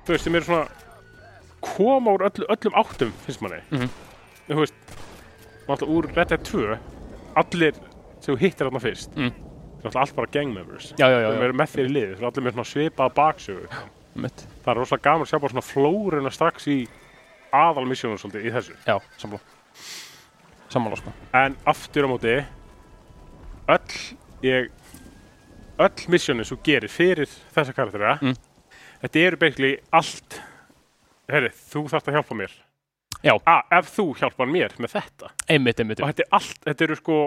þú veist, sem eru svona koma úr öll, öllum áttum, finnst manni
Mhm.
þú veist náttúrulega úr Red Dead 2 allir sem þú hittir þarna fyrst
Mm.
þú veist, allt bara gang members
já, já, já,
sem
já.
eru með þér í lið, þú allir með svona svipaða baksögu
mitt
það er rosalega gaman að sjá bara svona flóruna strax í aðalmissjónu svolítið í þessu
já, sammála sammála sko
en aftur á móti öll ég, öll missjónin sem þú gerir fyrir þessa karaktera
Mm.
þetta eru basically allt herri, þú þarft að hjálpa mér
Já.
A, ef þú hjálpar mér með þetta
einmitt, einmitt,
og
einmitt.
þetta er allt, þetta eru sko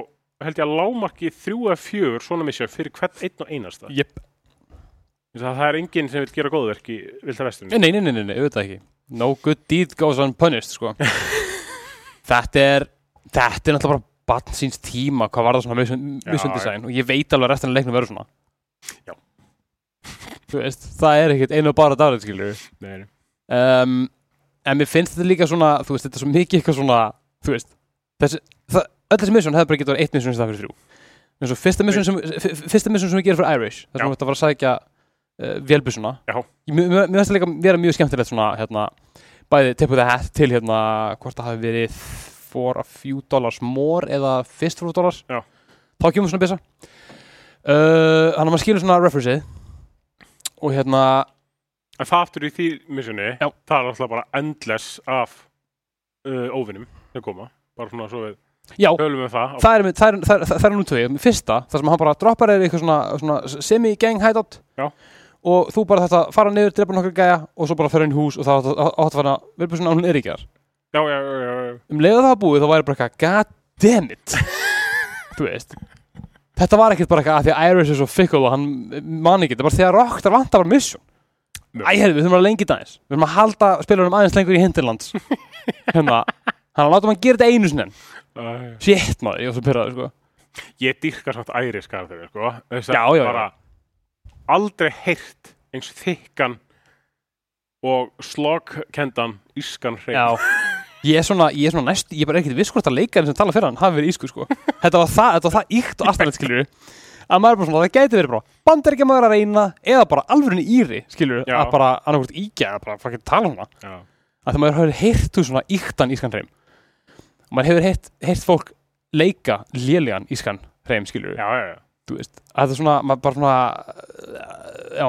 held ég að lámarki þrjú eða fjögur svona missjón fyrir hvern einn og einasta
Jep.
Þess að það er enginn sem vil gera góðverk í vilda vestunni
nei, nei, nei, nei, nei, nei, auðvitað ekki no good deed goes unpunished sko þetta er þetta er náttúrulega bara batn síns tíma hvað var það svona mission-
Já,
mission design og ég veit alveg að restan af leiknum verður svona
Já.
þú veist, það er ekkert einu og bara dárið skilur
nei, nei.
um, en mér finnst þetta líka svona þú veist, þetta er svo mikið eitthvað svona þú veist, þessi, það, öll þessi mission hefði bara getið að vera eitt mission sem það fyrir þrjú eins og fyrsta mission sem, f- f- fyrsta mission sem við gerum fyrir Irish þar
Já.
sem við þetta var að sækja uh, vélbusuna
Já.
Ég- mér mér- mér finnst það líka vera mjög skemmtilegt svona hérna, bæði tip of the hat til hérna hvort það hafi verið for a few dollars more eða fyrst for a few dollars
Já.
þá kemur svona byssa uh, hann að maður skilur svona referenceið og hérna
en það aftur í því missjóni
Já.
það er alltaf bara endless af uh, óvinnum sem koma bara svona svo við
já,
Tölum við það.
það er, einmitt- það er, það er, það er nú tvið fyrsta, þar sem hann bara droppar er eitthvað svona, svona semi-gang hideout
Já.
og þú bara þetta fara niður, drepa nokkur gæja og svo bara fyrir inn í hús og það átt- átt að fara verður svona að hún er ekki þar
Já, já, já, já, já.
um leiða það var búið þá væri bara eitthvað god damn it þú veist þetta var ekkert bara eitthvað að því að Iris er svo fickle og hann eh, man ekki, þetta er bara þegar Rockstar vantar bara mission
Nei.
Æ, herri, við þurfum að lengi þetta aðeins Við þurfum að halda spilarum aðeins lengur í hindirlands Hérna, hann látum hann gera þetta einu sinni enn.
Æ.
Shit maður, ég var svo pyrraður sko
Ég dýrka samt æris karakterið, sko. Þess
Já, já, já.
bara aldrei heyrt eins þykkan og slogkendan ískan hrein.
Já Ég er svona, ég er svona næst, ég er bara ekkert viss hvort að leikarinn sem tala fyrir hann hafi verið ísku sko Þetta var það, þetta var það íkt og aftanlega skilur að maður er bara svona, það gæti verið bara bandar ekki maður að reyna eða bara alvörinni íri skilur
Já.
að bara annarkvort íkja eða bara fucking tala um svona
Já.
að það maður hefur heyrt úr svona íktan ískan hreim maður hefur heyrt, heyrt fólk leika lélegan ískan hreim skilur
Já, já, já.
þú veist, að þetta er svona, maður bara svona eh, já,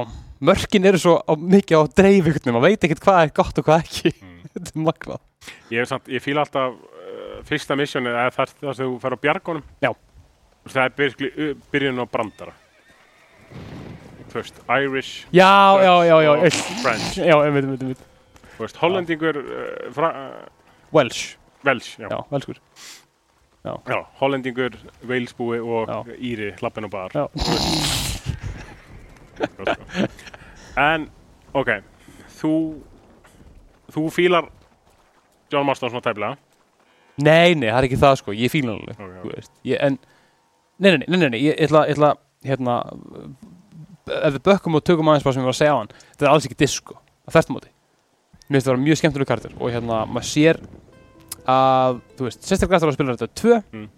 mörkin eru svo á, mikið á dreifugtnum, maður veit ekkert hvað er gott og hvað ekki,
Mm.
þetta er magnað
Ég, er samt, ég fíla alltaf uh, fyrsta missjónið eða þar, þar sem þú fer á bjargunum.
Já.
Það er byrjli, byrjun á brandara. Þú veist, Irish,
Já, já, já, já,
og
já,
French.
já, einmitt, einmitt, einmitt.
Þú veist, Hollendingur, uh, fra, uh,
Welsh,
Welsh, já.
já, Welskur.
Já, Hollendingur, Walesbúi og
Já.
Íri, Lappin og Bar.
Já.
en, ok, þú, þú fílar John Marston svona tæflega.
Nei, nei, það er ekki það, sko, ég fíla hann alveg,
Ok, ok.
þú veist, ég, en, nei, nei, nei, nei, nei, nei, ég ætla, ég ætla, hérna, b- ef við bökkum og tökum aðeins bara sem ég var að segja á hann, þetta er alls ekki sko, disco, að þert móti. Mér finnst það vera mjög skemmtileg kartur og hérna, maður sér að, þú veist, sérstaklega eftir að spila þetta tvö,
Mm.
mm.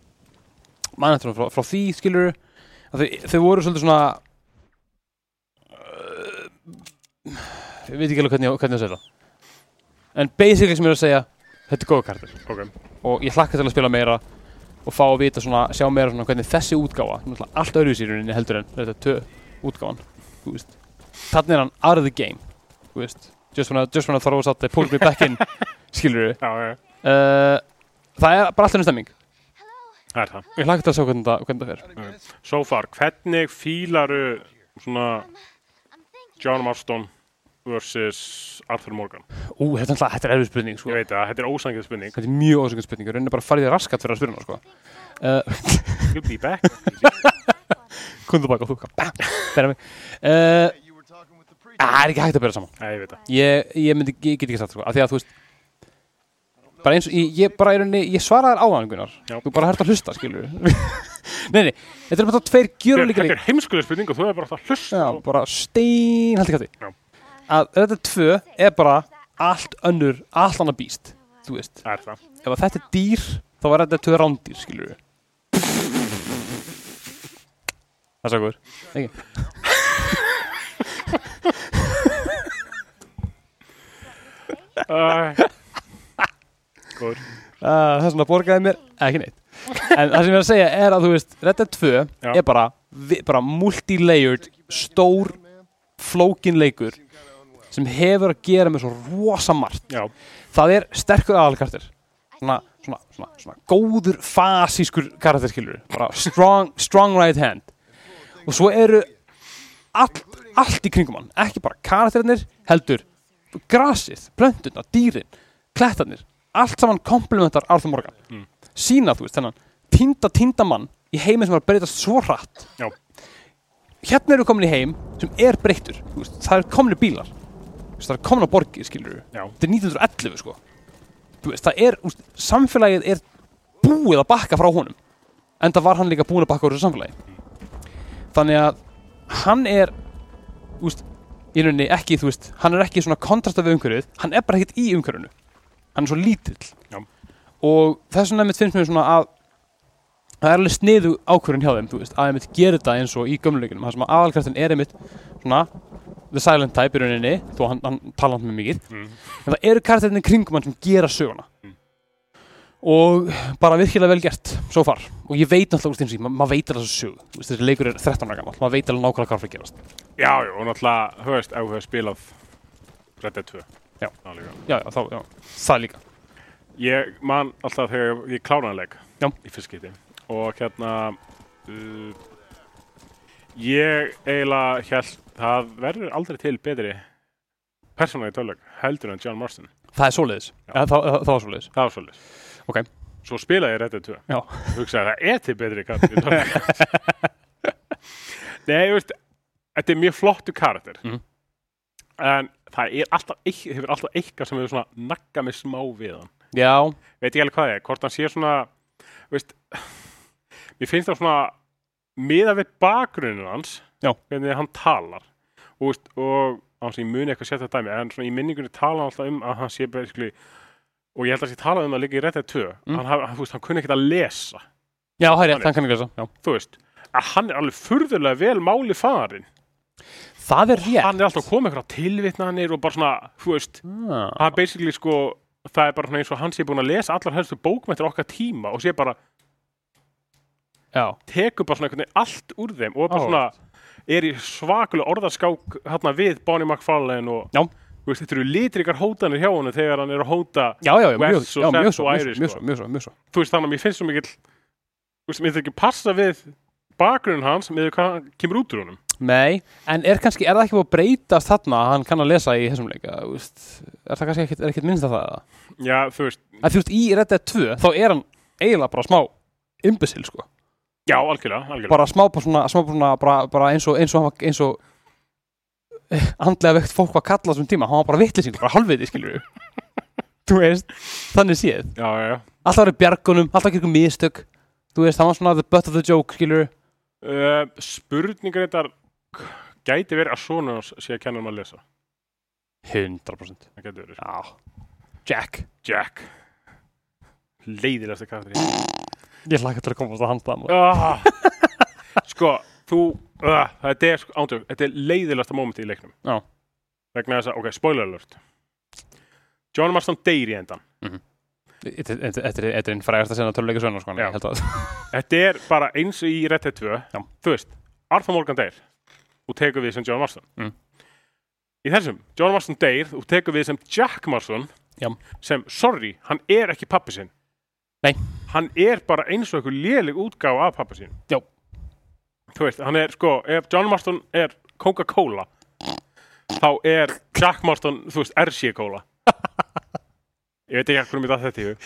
mannættur frá, frá því, skilur, að þau, þau voru svolítið svona uh, ég veit ekki alveg hvernig, ég- hvernig ég á að segja það en basically sem ég er að segja þetta er góða kartur
Ok.
og ég hlakka til að spila meira og fá að vita svona, sjá meira svona hvernig þessi útgáfa sem er náttúrulega allt öðru í sýruninni heldur en þetta tö útgáfan þú veist. þannig er hann out of the game þú veist. just when I, just when I throw us out they pulled me back in skilur
Já, já, já.
uh, það er bara alltaf ennum stemming
það er það.
ég hlakka til að sjá hvernig það, hvernig það fer
So far, hvernig fílaru svona John Marston versus Arthur Morgan?
Ú, þetta er alltaf, þetta er erfið spurning sko.
Ég veit að þetta er ósangið spurning.
Þetta er mjög ósöngin spurning, raunin bara farið þér raskat fyrir að spyrja hana sko. uh,
You'll be back.
Kom þú baka og þú hvað, bam, bera mig uh, Það er ekki hægt að bera saman
Nei, ég veit það.
Ég, ég, myndi, ég get ekki sagt sko, af því að þú veist Bara eins og, ég, ég bara er rauninni, ég svaraði þér áðan Gunnar
Já.
Þú bara hægt að hlusta, skilur Nei, nei, þetta er bara tveir gjörur líka
Þetta er heimskulega spurning og þú er bara alltaf að hlusta.
Já, bara stein haldi
Já.
kætti Að þetta tvö er bara allt önnur, allt annað býst Þú veist
Það er það.
ef að þetta er dýr þá var þetta tvö rándýr, skilur við Það sagður Ekki
Æ. Góður.
Uh, það svona borgaði mér ekki neitt en það sem ég er að segja er að þú veist Red Dead 2
Já.
er bara, vi- bara multilayered stór flókin leikur sem hefur að gera með svo rosa margt
Já,
það er sterkur aðalkartir svona, svona, svona, svona góður fasískur karakterskilur bara strong, strong right hand og svo eru allt, allt í kringum hann ekki bara karakterinir heldur grasið, plöntuna, dýrin klettarnir, allt saman komplementar Arthur Morgan mm. sína þú veist þennan týnda týnda mann í heimi sem var að breytast svo hratt
já,
hérna eru komin í heim sem er breyttur þú veist, það eru komni bílar þú veist, það eru komna borgir skilur við
já.
þetta er 1911 sko Þú veist, það er, úst, samfélagið er búið að bakka frá honum en það var hann líka búin að bakka úr þessu samfélagi þannig að hann er úst, í rauninni ekki, þú veist, hann er ekki svona kontrasta við umhverfið, hann er bara ekkert í umhverfinu hann er svo lítill
Já.
og þess vegna einmitt finnst mér svona að það er alveg sniðu ákvörðin hjá þeim, þú veist, að einmitt gera þetta eins og í gömleikunum, það sem að aðalkraftin er einmitt svona the silent type í rauninni, þó hann, hann talant með mikið en það eru karakterinni kringum hann sem gera söguna og bara virkilega vel gert svo far og ég veit náttúrulega úst eins og ég, ma- maður veit alveg þessu sögu Þú veist, þessi leikur er 13 ára gammal, maður veit alveg nákvæmlega hvað það gerast
Já, já, og náttúrulega, þú veist, ef þú hefur spilað Red Dead 2.
Já.
Þá líka.
já, já, þá, já, það líka
Ég man alltaf þegar ég- ég klánaði leik
Já.
í fyrst skipti og hérna uh, ég eiginlega held það verður aldrei til betri persóna í töluleik heldur en John Marston
það er svoleiðis,
Já.
ja, það, það, það var svoleiðis
það var svolítið
Ok.
Svo spilaði ég Red Dead 2
Já.
hugsaði það er til betri karakter í töluleik Nei, ég veist þetta er mjög flottu karakter
Mhm.
en það er alltaf, eitt- hefur alltaf eitthvað sem hefur svona naggað mig smá við hann
já,
veit ekki alveg hvað það er, hvort hann sé svona veist mér finnst það svona miða við bakgrunin hans
Já.
hvernig hann talar og, veist, og án sem ég muni eitthvað sér þetta dæmi en svona í minningunni tala hann alltaf um að hann sé basically og ég held að sé talað um það líka í réttið tvö
Mm.
hann, haf- hann, þú veist, hann kunni ekkert að lesa
já, það er rétt, hann kann ekki þessa já.
þú veist, að hann er alveg furðulega vel máli farin
það er rétt
hann er alltaf komið eitthvað tilvitnanir og bara svona, þú veist
ah.
hann basically sko það er bara svona eins og hann sé búin að lesa allar helstu bókmættir okkar tíma og sé bara
já,
tekur bara svona einhvern veginn allt úr þeim og bara
Áhugavert.
svona er í svakulega orðaskák hérna við Bonnie McFarlane og
Já.
Þú veist, þetta eru litrikar hótanir hjá honum þegar hann er að hóta
já, já, já, mjög,
West og
já, mjög
Seth
svo
og
mjög
Iris,
svo, mjög
sko.
svo, mjög svo, mjög svo.
þú veist þannig að mér finnst svo mikill þú veist, mér þetta ekki passa við bakgrunn hans með hvað hann kemur út úr honum
Nei, en er kannski, er það ekki búið að breytast þarna að hann kann að lesa í þessum leika, þú veist, er það kannski ekkert, er ekkert minnst að það eða?
já þú veist,
að þú veist í Red Dead 2 þá er hann eiginlega bara smá imbesil sko,
já algjörlega, algjörlega.
bara smá bara svona, smá bara svona bara, bara eins og eins og, hann var- eins og eh, andlega veikt fólk var kallað þessum tíma, hann var bara vitlisinn, bara halvviti skilur við þú veist, þannig séð
já, já, já.
alltaf var í bjargunum, alltaf ekki mistök þú veist, hann var svona the butt of the joke skilur við
Uh, spurningar þetta gæti verið að svona hans sé að kenna hann að lesa
100%
það gæti verið sko.
Já. Jack,
Jack leiðilegasta karakter í heimi.
ég hlakka til að komast að hans það
Ah, sko, þú, uh, þetta er sko- ándjök, þetta er leiðilegasta mómenti í leiknum
Já.
vegna þess að, ok, spoiler alert John Marston deyr í endan
Þetta þetta- þetta er- þetta er einn frægast að sena töluleika sögnar sko,
Já.
ég held að
þetta er bara eins í Red Dead 2
Já.
þú veist, Arthur Morgan deyr og tekur við sem John Marston
Mm.
í þessum, John Marston deyr og tekur við sem Jack Marston
Já.
sem, sorry, hann er ekki pappi sinn
Nei.
hann er bara eins og einhver léleg útgáfa af pappi sinn
Já.
þú veist, hann er sko ef John Marston er Coca-Cola þá er Jack Marston þú veist, RC-Cola ég veit ekki hvernig mér datt þetta í hug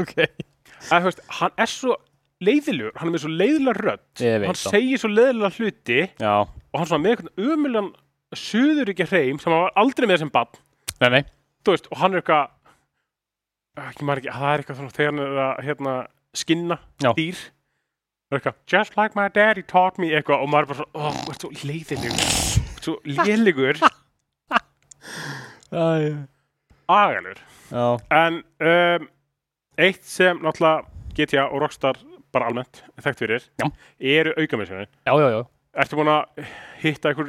Ok
að þú veist, hann er svo leiðilegur, hann er með svo leiðilega rödd
Ég veit
hann
það.
segir svo leiðilega hluti
Já,
og hann svona með eitthvað umuljan suðuríkja hreim sem hann var aldrei með sem bann
nei, nei
þú veist, og hann er eitthvað Ah, ekki maður ekki, það er eitthvað svona þegar hann er að hérna, skinna
Já.
dýr það er eitthvað, just like my daddy taught me eitthvað og maður er bara svona, oh, þú ert svo leiðilegur Þú ert svo lélegur
Já,
agalur
já
en um, eitt sem náttúrulega GTA og Rockstar bara almennt þekkt fyrir
Já.
eru aukamisjónir
Já, já, já,
Ertu búin að hitta einhver,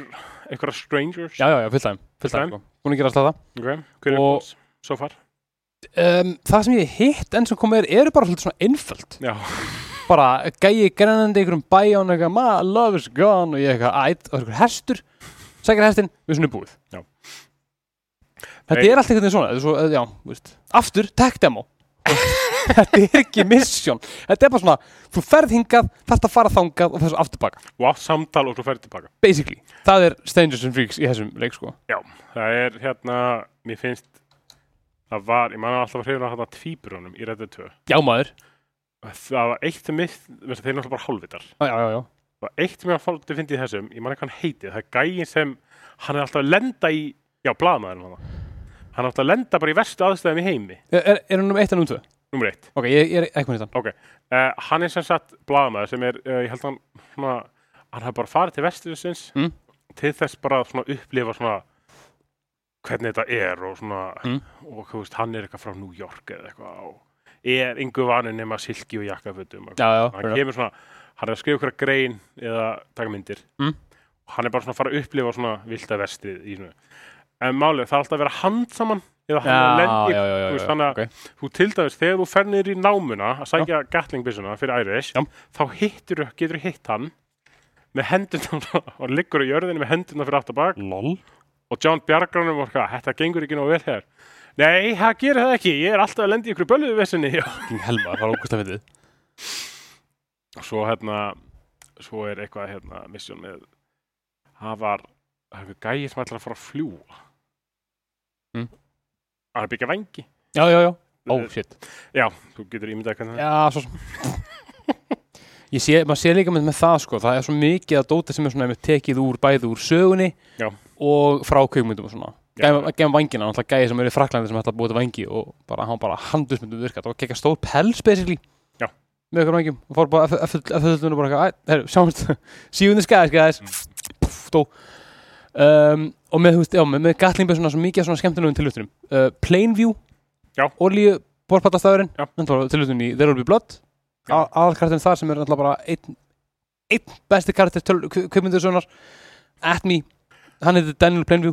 einhverja strangers?
já, já, já fullt aðeim Fullt
Fulltime.
aðeim Búin að gera alltaf það
Ok, hver er
Og-
og... so far?
um, Það sem ég hitt enn sem komið er eru bara svolítið svona einföld
Já,
Bara gæi grænandi í einhverjum bæ og hann eitthvað, my love is gone og ég eitthvað, ætt, og einhver hestur Sækir hestinn, við svona búið
Já.
Þetta
Nei.
er allt einhvern veginn svona, þetta er svo, já, þú veist Aftur, tech demo Þetta er ekki misjón Þetta er bara svona, þú ferð hingað, þarft að fara þangað og þessu afturbaka
og átt samtal og svo ferði tilbaka.
Basically, það er Strangers and Freaks í þessum leik sko
Já, það er hérna, mér finnst, það var, ég manna alltaf að hrifna hérna tvíbrunum í Red Dead 2.
Já maður,
Það var eitt sem mér, þeir eru náttúrulega bara hálfvitar.
já, já, já, já.
Það var eitt sem ég fólkti fyndi í þessum, ég manna hvað hann heitið, það er gæin sem, hann er alltaf að lenda í, já, blaðmaðurinn hann það. Hann er alltaf að lenda bara í verstu aðstæðum í heimi,
Er, er, er hún um 1 en um 2?
nummer eitt.
Ok, ég, ég er hérna. ekki með þetta
Ok, uh, hann er sem sagt blaðamaður sem er, uh, ég held hann svona, hann hafði bara farið til vesturins
Mm.
til þess bara að svona upplifa svona hvernig þetta er og svona
Mm.
og þú veist, hann er eitthvað frá New York eða eitthvað og er yngu vanur nema silki og jakkafutum og
Já, já,
hann
já,
kemur svona, hann er að skrifa ykkur grein eða taka myndir
Mm.
og hann er bara svona að fara að upplifa svona vilda vestið í svona en málið, það er alltaf að vera hand saman eða hann að
já,
lendi
já, já, já,
þú veist,
já,
þannig að-
ok.
þú til dæmis, þegar þú fer niður í námuna að sækja gatlingbyssuna fyrir Irish
Já.
þá hittir, getur þú hitt hann með hendurna og liggur á jörðinu með hendurna fyrir aftabak
Lol.
og John Bjargranum var hvað, þetta gengur ekki nóg vel hér nei, það gerir það ekki, ég er alltaf að lenda í ykkur bölluðu vissinni
Fucking Helma, það var ógust að fyndið
og svo hérna svo er eitthvað hérna, mission með það var, það er eitthvað gæi sem ætlar að fara að fljúa
Mm.
hann er að byggja vengi
Já, já, já, ó, Oh, shit
já, þú getur ímyndað hvernig það er.
Já, svo sem Ég sé, maður sé líka með, með það sko Það er svo mikið að dóta sem er svona einmitt tekið úr bæði úr sögunni
Já.
og frá kveikmyndum og svona
Já.
Gæm vangina, náttúrulega gæði sem eru í Fraklandi sem ætla að búið til vangi og bara, hann bara handusmyndum virka, það var kekka stór pels basically
Já.
með ykkur vangjum og fór bara að full- að fullunum bara eitthvað, æ, herru, sjáumst síðunni skæðis, skæðis
Mm.
Pff, dó um, og með, þú veist, já, með, með gatlingbjössuna svo mikið af svona skemmtunum tiluttunum uh, Plainview,
Já.
olíu borpatastæðurinn,
Já.
tiluttunum í There Will Be Blood
Já.
aðalkartin þar sem er náttúrulega bara einn, einn besti kartir kvipmynduðsögnar At Me, hann heitir Daniel Plainview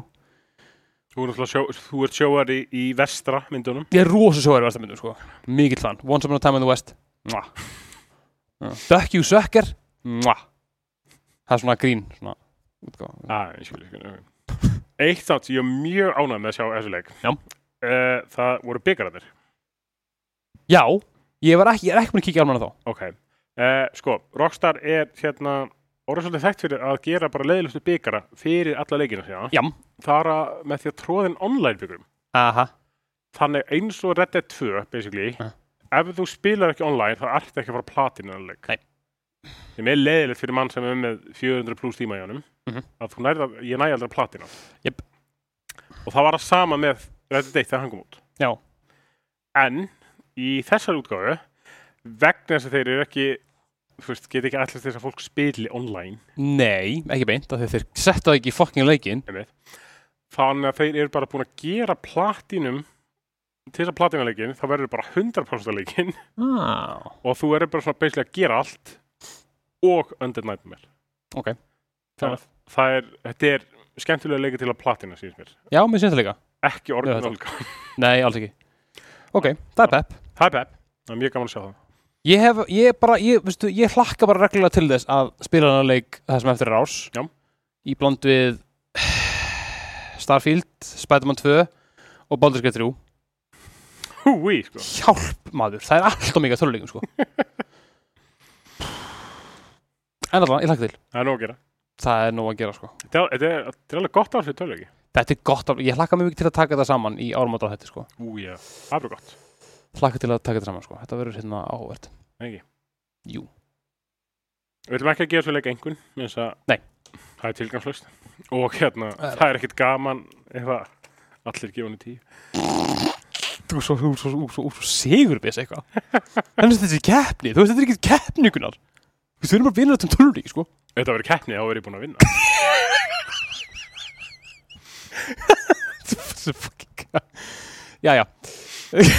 þú er náttúrulega sjó, þú ert sjóar í, í vestra myndunum
ég er rosa sjóður versta myndum sko mikill fan, Once Upon a Time in the West Mwah. Duck You Sucker Mwah. það er svona grín svona, útgáfa.
Ah, ég skil, ég skil, ok. Eitt samt sem ég er mjög ánægð með að sjá í þessu leik
Já.
Eh, Það voru byggararnir
já, ég, var ekki, ég er ekki búin að kíkja almanna þá
Ok uh, Sko, Rockstar er hérna orðið svolítið þekkt fyrir að gera bara leiðilustu byggara fyrir alla leikina sína
Já.
Það er að með því að tróðin online byggurum
Aha.
Þannig eins og Red Dead 2 basically
Ah.
Ef þú spilar ekki online þá ertu ekki að fara platin en leik
Nei.
Sem er leiðilegt fyrir mann sem er með 400 pluss tíma í honum
Mhm.
að þú nærða, ég næði aldrei platina
Jep.
Og það var að sama með Red Dead 1 þegar hann kom út
já,
en í þessari útgáfu vegna þess að þeir eru ekki þú veist, get ekki allast þess að fólk spili online
nei, ekki beint af því að þeir settu það ekki í fucking leikin
einmitt. þannig að þeir eru bara búin að gera platinum til þess að platinuleikin þá verður bara 100% leikin
ah.
og þú eru bara svona beislega að gera allt og Undead Nightmare
Ok, fair
það,
enough.
það er, þetta er skemmtilega leika til að platina síns mér
Já, mér syns það líka
ekki orginal gaman.
Nei, alls ekki Ok, það er pepp
það er pepp, það er mjög gaman að sjá það
Ég hef, ég bara, ég, veistu, ég hlakka bara reglulega til þess að spila hana leik það sem eftir er ás
Já.
Í bland við Starfield, Spider-Man 2 og Baldur's Gate 3
húi, sko
Hjálp maður, það er alltaf mikið af töluleikum sko En allan, ég hlakka til
það er nóg að gera
Það er nóg að gera sko
þetta er, þetta er, þetta er alveg gott ár fyrir tölvöki
Þetta er gott, ár- ég hlakka mjög mikið til að taka þetta saman í árum átta þetta sko
ú, já, það er bara gott
Hlakka til að taka þetta saman sko, þetta verður hérna áhvert
Ekki.
Jú.
við ætlum ekki að gera svo leika engun eins að
Nei.
það er tilgangslöst og hérna,
Það er-
það er ekkit gaman ef að allir gefa henni tíu
Þú er svo, þú er svo, þú er svo, þú er svo sigurbis eitthvað Þannig að þessi keppni, þú veist þetta er ekki keppni ykkurnar Þú veist, við erum bara vinur þetta um töluleik sko
ef þetta verið keppni þá verið ég búin að vinna
Þessi fucking Jæja Er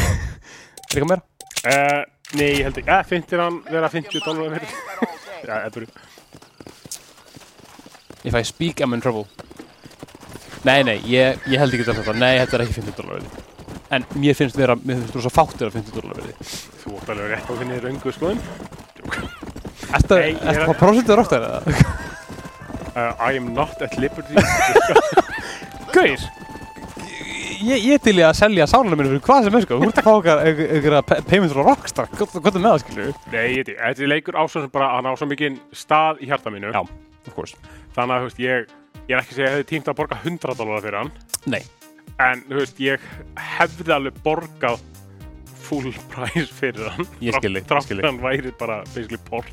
eitthvað meira?
uh, nei, ég held ekki, eða, finnir hann vera 50 dólar já, eða bara
If I speak, I'm in trouble Nei, nei, ég, ég held ekki til þetta Nei, þetta er ekki 50 dólar verði En mér finnst vera, mér finnst rosa fáttir að 50 dólar verði
Þú ótt alveg rétt á þinni röngu skoðun.
Ertu
Nei,
að,
ég er
ertu
að-
að prósentu rátt að það?
Uh, I am not at liberty. Ég
Gauir Ég, ég til ég að selja sálunum minni fyrir hvað sem er sko Þú ert að fá okkar einhverja pe- payment frá Rockstar Hvað hvað er með það skilur við?
skal- Nei, ég veit ekki. Þetta er leikur ásvöld sem bara hann á svo mikinn stað í hjarta mínu.
Já, of course
Þannig að, þú veist, ég, ég er ekki að segja að ég hefði tímt að borga 100 dólar fyrir hann.
Nei,
En, þú veist, ég hefði alveg borgað full price fyrir hann.
Ég skil þig, ég
Þrátt
skil
fyrir
þig.
hann væri bara basically port.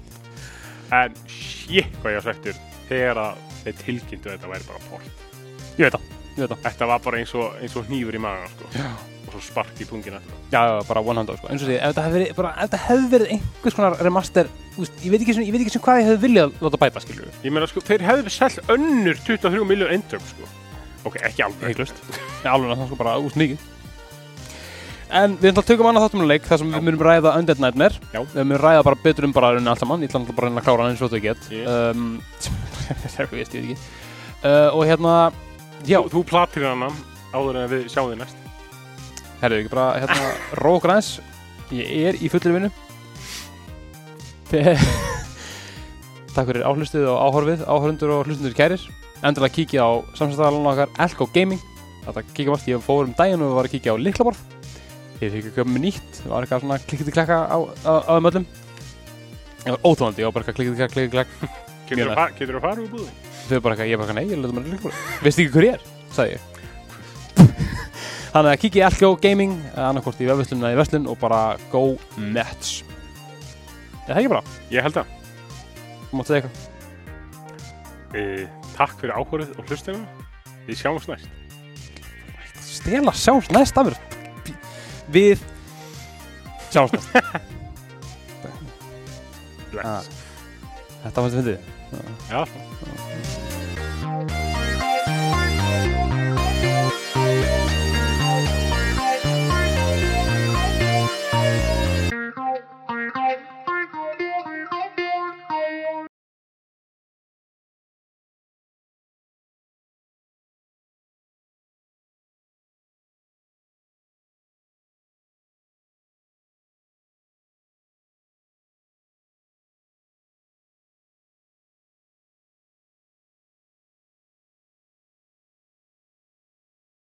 En, shit, hvað ég á svektur þegar að þeir tilkynntu að þetta væri bara port.
ég veit það, ég veit það
Þetta var bara eins og, eins og hnífur í magan, sko. Já. Og svo spark í pungin eftir.
Já, já, bara 100 sko, eins og því Ef þetta hefði verið, bara, ef þetta hefði verið einhvers konar remaster úst, Ég veit ekki sem, ég veit ekki sem hvað ég hefði viljað láta bæta skilur við
Ég meina sko, þeir hefðu selt önnur 23 miljón eintök sko. Ok, ekki alveg.
Heiklust Já, alveg að það sko bara út mikið En við ætlum að tökum annað þáttum leik þar sem við munum ræða Undead Nightmare
Já.
Við munum ræða bara betur um bara raunin allt saman Ég ætla náttúrulega bara að reyna að klára hann eins og þú get
Yes.
um, Það er hvað veist, ég veit ekki uh, Og hérna, já,
Já, þú platir hann áður en við sjáum þig næst.
herðu ekki bara hérna, Rók ræðis, ég er í fullir vinnu Fe- Takk fyrir áhlustið og áhorfið Áhorfundur og hlustundur kærir Endilega kíkja á samstæðalana okkar Elko Gaming Þetta kíkja vart, ég fór um daginn og var að kíkja á Liklaborð Ég fikk ekki með nýtt Það var eitthvað svona klikkið klakka á, á, á þeim öllum Ég var óþólandi, ég var bara eitthvað klikkið klakka, klikkið klakka
Getur
Mjög
þú að, getur að fara úr búði?
þau bara eitthvað, ég bara eitthvað, nei, ég leita mér líka veistu ekki hver ég er, sagði ég þannig að kíkja í Alkjó Gaming annarkort í vefverslun eða í verslun og bara go nuts er það ekki bara,
Ég held að.
þú mátt segja eitthvað
E, takk fyrir áhverjuð og hlustina. Við sjáum oss næst.
stela sjáumst næst af mér við sjáumst næst
Bless.
Ah. þetta fannst við fyndið
Já.
Thank